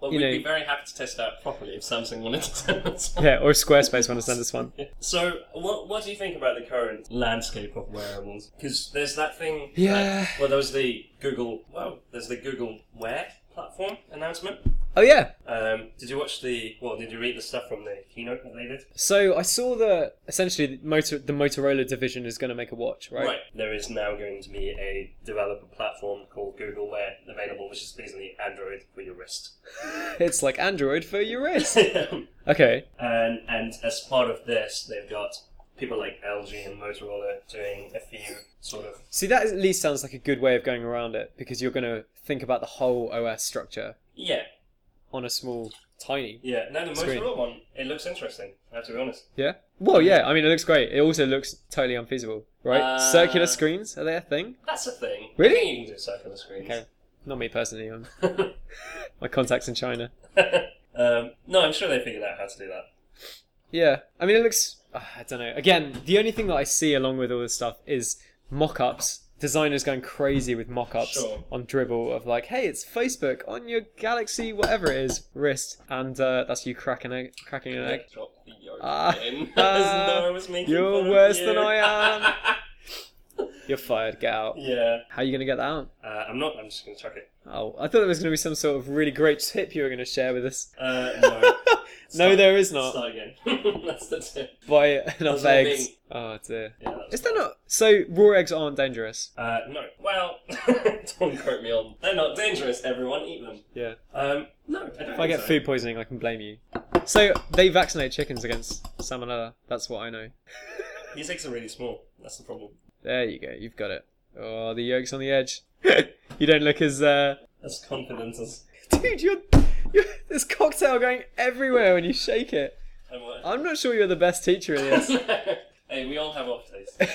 Speaker 1: Well,
Speaker 2: you
Speaker 1: we'd
Speaker 2: know-
Speaker 1: be very happy to test out properly if Samsung wanted to send us. one.
Speaker 2: yeah, or Squarespace want to send us one.
Speaker 1: So, what what do you think about the current landscape of wearables? Because there's that thing. that-
Speaker 2: Yeah.
Speaker 1: well, there was the Google. Well, there's the Google Wear platform announcement.
Speaker 2: Oh yeah,
Speaker 1: Um, did you watch the? Well, did you read the stuff from the keynote that they did?
Speaker 2: So I saw that essentially the, motor, the Motorola division is going to make a watch, right?
Speaker 1: There is now going to be a developer platform called Google Wear available, which is basically Android for your wrist.
Speaker 2: It's like Android for your wrist.
Speaker 1: and
Speaker 2: okay.
Speaker 1: and as part of this, they've got people like LG and Motorola doing a few sort of
Speaker 2: See, that at least sounds like a good way of going around it because you're going to think about the whole OS structure
Speaker 1: yeah
Speaker 2: on a small, tiny.
Speaker 1: yeah. Now the
Speaker 2: Screen.
Speaker 1: Motorola one, it looks interesting. I have to be honest.
Speaker 2: Yeah. Well, yeah. I mean, it looks great. It also looks totally unfeasible, right?
Speaker 1: Um, Uh,
Speaker 2: Circular screens are they a thing?
Speaker 1: That's a thing.
Speaker 2: Really?
Speaker 1: I think You can do circular screens.
Speaker 2: Okay. Not me personally. I'm, my contacts in China.
Speaker 1: um, no, I'm sure they figured out how to do that.
Speaker 2: Yeah, I mean, it looks. ah, I don't know. Again, the only thing that I see along with all this stuff is mock-ups. Designers going crazy with mock-ups
Speaker 1: Sure.
Speaker 2: on Dribble of like, hey, it's Facebook on your Galaxy, whatever it is, wrist, and uh, that's you cracking egg, cracking an egg.
Speaker 1: Drop the yolk
Speaker 2: Ah.
Speaker 1: in. As though I was making
Speaker 2: You're
Speaker 1: fun of
Speaker 2: worse than
Speaker 1: you.
Speaker 2: I am. You're fired. Get out.
Speaker 1: yeah.
Speaker 2: How are you gonna get that out?
Speaker 1: Uh, I'm not. I'm just going to chuck it.
Speaker 2: Oh, I thought there was gonna be some sort of really great tip you were gonna share with us.
Speaker 1: Uh, no.
Speaker 2: no,
Speaker 1: Start-
Speaker 2: there is not.
Speaker 1: Start again. That's the tip.
Speaker 2: Buy enough
Speaker 1: That's what I
Speaker 2: eggs.
Speaker 1: mean.
Speaker 2: Oh dear.
Speaker 1: Yeah, that's
Speaker 2: Is there not? So raw eggs aren't dangerous.
Speaker 1: Uh, no. Well, don't quote me on. They're not dangerous. Everyone eat them.
Speaker 2: Yeah.
Speaker 1: Um, no. I don't
Speaker 2: If I
Speaker 1: think
Speaker 2: get
Speaker 1: so.
Speaker 2: food poisoning, I can blame you. So they vaccinate chickens against salmonella. That's what I know.
Speaker 1: These eggs are really small. That's the problem.
Speaker 2: There you go. You've got it. Oh, the yolk's on the edge. you don't look as uh,
Speaker 1: That's confidence as.
Speaker 2: dude. You're, you're this cocktail going everywhere when you shake it.
Speaker 1: I'm like-
Speaker 2: I'm not sure you're the best teacher in this.
Speaker 1: hey, we all have off days.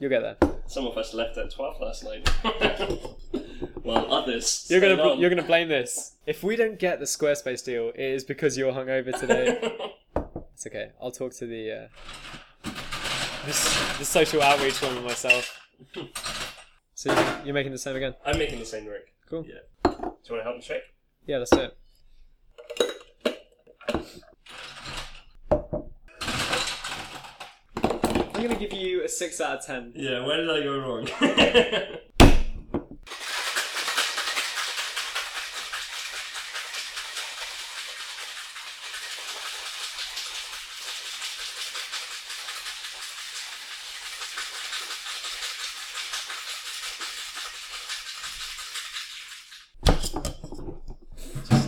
Speaker 2: You'll get there.
Speaker 1: Some of us left at twelve last night. While others.
Speaker 2: You're gonna
Speaker 1: stayed on.
Speaker 2: you're gonna blame this. If we don't get the Squarespace deal, it is because you're hungover today. It's okay. I'll talk to the uh, this, the social outreach one with myself. So you- you're making the same again.
Speaker 1: I'm making the same drink.
Speaker 2: Cool.
Speaker 1: Yeah. Do you want to help me shake?
Speaker 2: Yeah, that's it. I'm gonna give you a six out of ten.
Speaker 1: Yeah. Where did I go wrong? Give it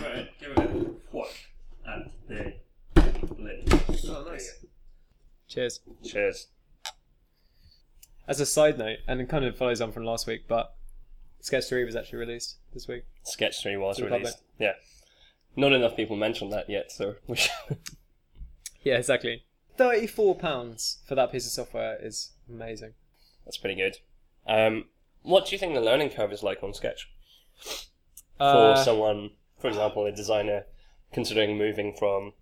Speaker 1: a- give it a whack at the lid.
Speaker 2: Oh,
Speaker 1: There you
Speaker 2: Cheers.
Speaker 1: go. Cheers.
Speaker 2: As a side note, and it kind of follows on from last week, but Sketch Three was actually released this week.
Speaker 1: Sketch 3 was
Speaker 2: To the
Speaker 1: released. Yeah. Not enough people mentioned that yet, so we should.
Speaker 2: Yeah, exactly. Thirty-four pounds for that piece of software is amazing.
Speaker 1: That's pretty good. Um, what do you think the learning curve is like on Sketch? For
Speaker 2: Uh,
Speaker 1: someone, for example, a designer considering moving from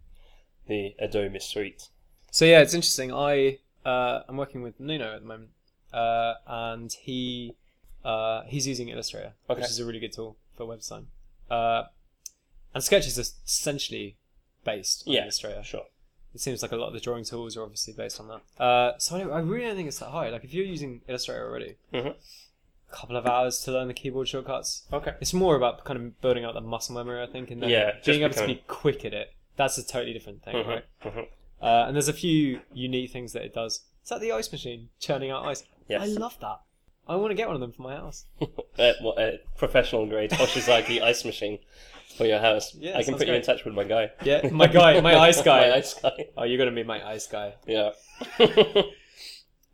Speaker 1: the Adobe suite.
Speaker 2: So yeah, it's interesting. I uh, I'm working with Nuno at the moment, uh, and he uh, he's using Illustrator,
Speaker 1: Okay.
Speaker 2: which is a really good tool for web design. Uh, and Sketch is essentially based on
Speaker 1: Yeah,
Speaker 2: Illustrator.
Speaker 1: Sure.
Speaker 2: It seems like a lot of the drawing tools are obviously based on that. Uh, so I, don't, I really don't think it's that high. Like if you're using Illustrator already,
Speaker 1: Mhm.
Speaker 2: couple of hours to learn the keyboard shortcuts.
Speaker 1: Okay.
Speaker 2: It's more about kind of building up the muscle memory, I think, and then
Speaker 1: Yeah, just
Speaker 2: being able to
Speaker 1: becoming-
Speaker 2: be quick at it. That's a totally different thing,
Speaker 1: Mhm,
Speaker 2: right?
Speaker 1: mhm.
Speaker 2: Uh, and there's a few unique things that it does. Is that the ice machine churning out ice?
Speaker 1: Yes.
Speaker 2: I love that. I want to get one of them for my house.
Speaker 1: uh, well, uh, professional grade Toshizaki ice machine for your house.
Speaker 2: Yeah,
Speaker 1: I can
Speaker 2: sounds
Speaker 1: put you in
Speaker 2: great.
Speaker 1: touch with my guy.
Speaker 2: Yeah, my guy, my ice guy.
Speaker 1: my ice guy.
Speaker 2: Oh, you're gonna be my ice guy.
Speaker 1: Yeah.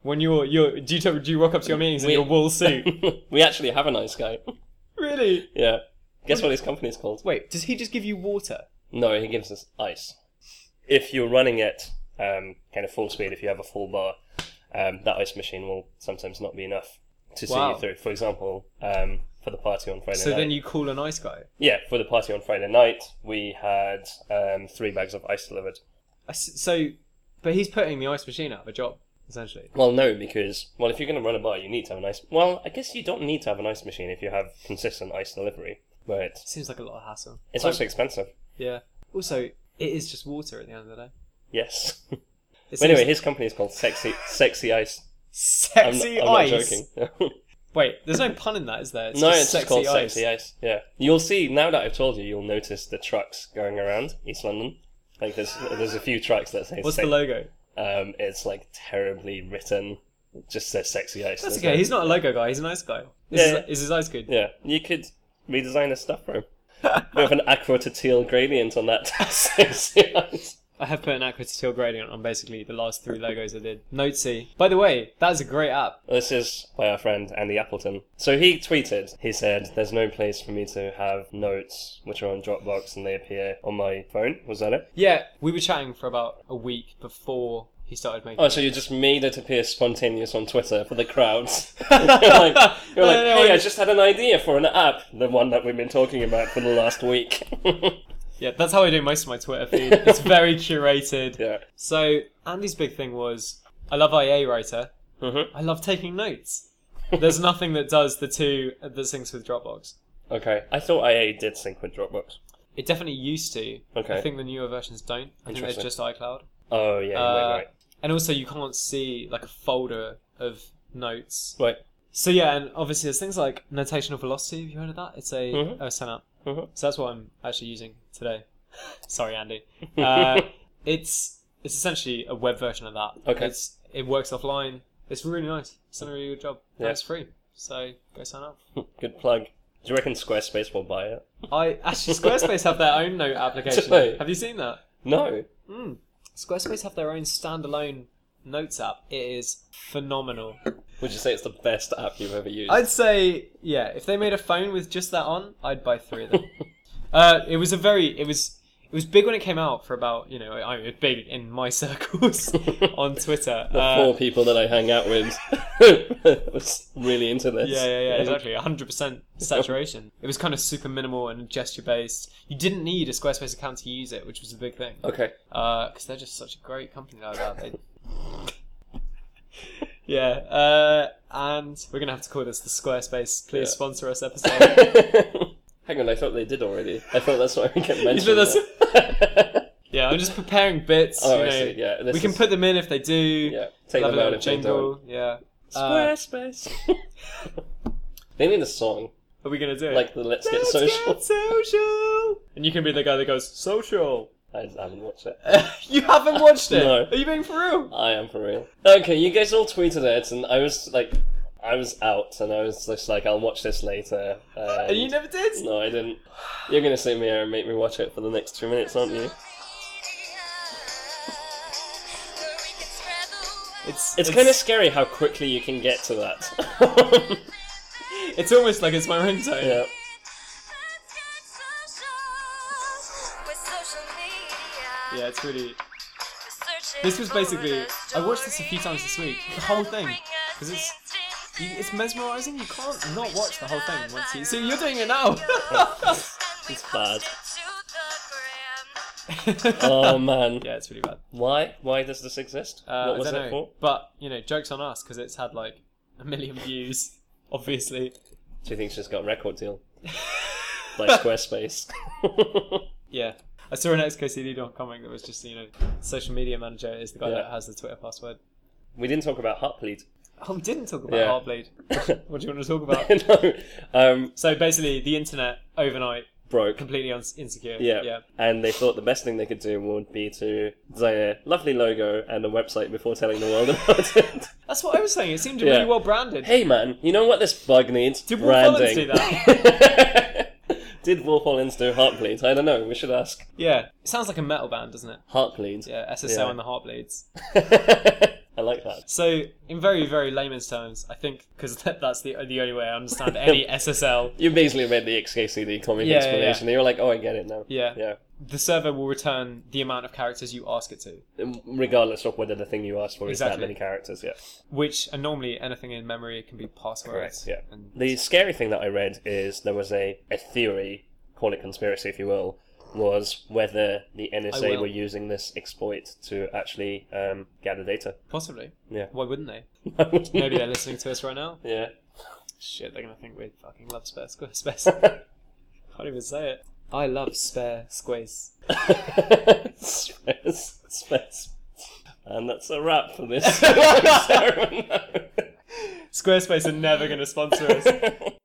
Speaker 2: When you're you're do you, t- do you rock up to your meetings in
Speaker 1: We-
Speaker 2: your wool suit?
Speaker 1: we actually have an ice guy.
Speaker 2: really?
Speaker 1: Yeah. Guess what his company's called?
Speaker 2: Wait, does he just give you water?
Speaker 1: No, he gives us ice. If you're running at um, kind of full speed, if you have a full bar, um, that ice machine will sometimes not be enough to see
Speaker 2: Wow.
Speaker 1: you through. For example, um, for the party on Friday
Speaker 2: So
Speaker 1: night.
Speaker 2: then you call an ice guy.
Speaker 1: Yeah, for the party on Friday night, we had um, three bags of ice delivered.
Speaker 2: I s- So, but he's putting the ice machine out of a job essentially.
Speaker 1: Well, no, because well, if you're going to run a bar, you need to have an ice. Well, I guess you don't need to have an ice machine if you have consistent ice delivery, but
Speaker 2: Seems like a lot of hassle.
Speaker 1: it's
Speaker 2: Like-
Speaker 1: also expensive.
Speaker 2: yeah. Also, it is just water at the end of the day.
Speaker 1: Yes.
Speaker 2: It
Speaker 1: But anyway,
Speaker 2: seems-
Speaker 1: his company is called Sexy Sexy Ice. I'm,
Speaker 2: sexy
Speaker 1: I'm not
Speaker 2: ice.
Speaker 1: joking.
Speaker 2: Wait, there's no pun in that, is there?
Speaker 1: no, it's just called Sexy Ice. Yeah, you'll see now that I've told you, you'll notice the trucks going around East London. Like there's there's a few trucks that say
Speaker 2: What's
Speaker 1: sex-
Speaker 2: the logo?
Speaker 1: um, it's like terribly written. It Just says Sexy Ice.
Speaker 2: That's
Speaker 1: There's
Speaker 2: okay.
Speaker 1: no-
Speaker 2: He's not a logo guy. He's an ice guy. Is,
Speaker 1: Yeah.
Speaker 2: his, is his ice good?
Speaker 1: Yeah, you could redesign the stuff room. With an aqua to teal gradient on that.
Speaker 2: I have put an aqua to teal gradient on basically the last three logos I did. Notesy. By the way, that is a great app.
Speaker 1: this is by our friend Andy Appleton. So he tweeted, he said, There's no place for me to have notes which are on Dropbox and they appear on my phone. Was that it?
Speaker 2: Yeah, we were chatting for about a week before he started making.
Speaker 1: Oh, so you just made it appear spontaneous on Twitter for the crowds. you're like, you're
Speaker 2: No,
Speaker 1: like
Speaker 2: no, no,
Speaker 1: hey,
Speaker 2: I
Speaker 1: I
Speaker 2: just-
Speaker 1: just had an idea for an app, the one that we've been talking about for the last week.
Speaker 2: Yeah, that's how I do most of my Twitter feed. it's very curated.
Speaker 1: yeah.
Speaker 2: So Andy's big thing was I love IA writer.
Speaker 1: Mm-hmm.
Speaker 2: I love taking notes. There's nothing that does the two that syncs with Dropbox.
Speaker 1: Okay. I thought IA did sync with Dropbox.
Speaker 2: It definitely used to.
Speaker 1: Okay.
Speaker 2: I think the newer versions don't. I think they're
Speaker 1: Interesting.
Speaker 2: just iCloud.
Speaker 1: Oh, yeah, you
Speaker 2: Uh,
Speaker 1: might be right.
Speaker 2: And also, you can't see like a folder of notes.
Speaker 1: Right.
Speaker 2: So yeah, and obviously there's things like notational velocity. Have you heard of that? It's a
Speaker 1: Mhm.
Speaker 2: oh, it's an app.
Speaker 1: Mhm.
Speaker 2: So that's what I'm actually using today. Sorry, Andy. Uh, it's it's essentially a web version of that.
Speaker 1: Okay.
Speaker 2: It's it works offline. It's really nice. It's done a really good job. And
Speaker 1: Yeah.
Speaker 2: it's free. So go sign up.
Speaker 1: Good plug. Do you reckon Squarespace will buy it?
Speaker 2: I actually Squarespace have their own note application.
Speaker 1: Do they?
Speaker 2: Have you seen that?
Speaker 1: No.
Speaker 2: Mm. Squarespace have their own standalone notes app. It is phenomenal.
Speaker 1: Would you say it's the best app you've ever used?
Speaker 2: I'd say, yeah, if they made a phone with just that on, I'd buy three of them. uh, it was a very, it was, it was big when it came out for about, you know, I it was big in my circles on Twitter.
Speaker 1: the
Speaker 2: Uh,
Speaker 1: four people that I hang out with was really into this.
Speaker 2: yeah, yeah, yeah, exactly. 100% saturation. It was kind of super minimal and gesture based. You didn't need a Squarespace account to use it, which was a big thing.
Speaker 1: Okay.
Speaker 2: because they're just such a great company like that. They... yeah, uh, and we're gonna have to call this the Squarespace please
Speaker 1: Yeah.
Speaker 2: sponsor us episode.
Speaker 1: Hang on, I thought they did already. I thought that's why we kept mentioning
Speaker 2: You thought
Speaker 1: that.
Speaker 2: yeah, I'm just preparing bits.
Speaker 1: oh,
Speaker 2: you
Speaker 1: I
Speaker 2: know.
Speaker 1: see. Yeah, this
Speaker 2: we can
Speaker 1: is-
Speaker 2: put them in if they do.
Speaker 1: Yeah, take
Speaker 2: Love
Speaker 1: them
Speaker 2: a
Speaker 1: out
Speaker 2: little
Speaker 1: if they don't.
Speaker 2: jingle. Yeah. Uh,
Speaker 1: Squarespace. they need a song
Speaker 2: are we gonna do it?
Speaker 1: like the "Let's Get
Speaker 2: Let's
Speaker 1: Social."
Speaker 2: Get social. And you can be the guy that goes social.
Speaker 1: I haven't watched it.
Speaker 2: you haven't watched it.
Speaker 1: No.
Speaker 2: Are you being for real?
Speaker 1: I am for real. Okay, you guys all tweeted it, and I was like, I was out, and I was just like, I'll watch this later.
Speaker 2: And you never did.
Speaker 1: No, I didn't. You're gonna sit me here and make me watch it for the next two minutes, aren't you?
Speaker 2: It's
Speaker 1: It's, kind of scary how quickly you can get to that.
Speaker 2: it's almost like it's my ringtone.
Speaker 1: yeah.
Speaker 2: Yeah, it's really. This was basically. I watched this a few times this week. The whole thing, because it's you, it's mesmerizing. You can't not watch the whole thing once you. So you're doing it now.
Speaker 1: It's bad.
Speaker 2: yeah,
Speaker 1: Oh man.
Speaker 2: it's really bad.
Speaker 1: Why? Why does this exist?
Speaker 2: Uh,
Speaker 1: what was
Speaker 2: I don't
Speaker 1: it
Speaker 2: know.
Speaker 1: for?
Speaker 2: But you know, jokes on us because it's had like a million views. Obviously.
Speaker 1: Do you think she's got a record deal? Like Squarespace.
Speaker 2: Yeah. I saw an XKCD doc coming that was just you know, social media manager is the guy
Speaker 1: Yeah.
Speaker 2: that has the Twitter password.
Speaker 1: we didn't talk about Heartbleed.
Speaker 2: Oh, we didn't talk about
Speaker 1: Yeah.
Speaker 2: Heartbleed. what do you want to talk about?
Speaker 1: no, um,
Speaker 2: so basically, the internet overnight
Speaker 1: broke.
Speaker 2: completely uns insecure.
Speaker 1: Yeah.
Speaker 2: yeah.
Speaker 1: and they thought the best thing they could do would be to design a lovely logo and a website before telling the world about it.
Speaker 2: That's what I was saying. It seemed
Speaker 1: Yeah.
Speaker 2: really well branded.
Speaker 1: Hey man, you know what this bug needs?
Speaker 2: Did Wolf Hollins
Speaker 1: Branding.
Speaker 2: do
Speaker 1: that? Did Wolf Hollins do Heartbleed? I don't know. We should ask
Speaker 2: Yeah, it sounds like a metal band, doesn't it?
Speaker 1: Heartbleed.
Speaker 2: Yeah, SSO
Speaker 1: Yeah.
Speaker 2: and the Heartbleeds.
Speaker 1: I like that.
Speaker 2: So, in very, very layman's terms, I think because that, that's the the only way I understand any SSL.
Speaker 1: You basically made the XKCD comic
Speaker 2: Yeah, yeah,
Speaker 1: explanation. You were like, oh, I get it now.
Speaker 2: Yeah.
Speaker 1: Yeah.
Speaker 2: the server will return the amount of characters you ask it to,
Speaker 1: Um, Regardless of whether the thing you asked for is that
Speaker 2: Exactly.
Speaker 1: many characters, yeah.
Speaker 2: which and normally anything in memory can be passwords.
Speaker 1: Correct, yeah.
Speaker 2: And
Speaker 1: The scary thing that I read is there was a, a theory, call it conspiracy if you will, was whether the NSA
Speaker 2: will.
Speaker 1: were using this exploit to actually um, gather data.
Speaker 2: possibly.
Speaker 1: Yeah.
Speaker 2: Why wouldn't they? Maybe they're listening to us right now.
Speaker 1: Yeah.
Speaker 2: Shit, they're gonna think we fucking love spare square space. Can't even say it. I love spare squares.
Speaker 1: Space, space. And that's a wrap for this ceremony.
Speaker 2: Squarespace are never gonna sponsor us.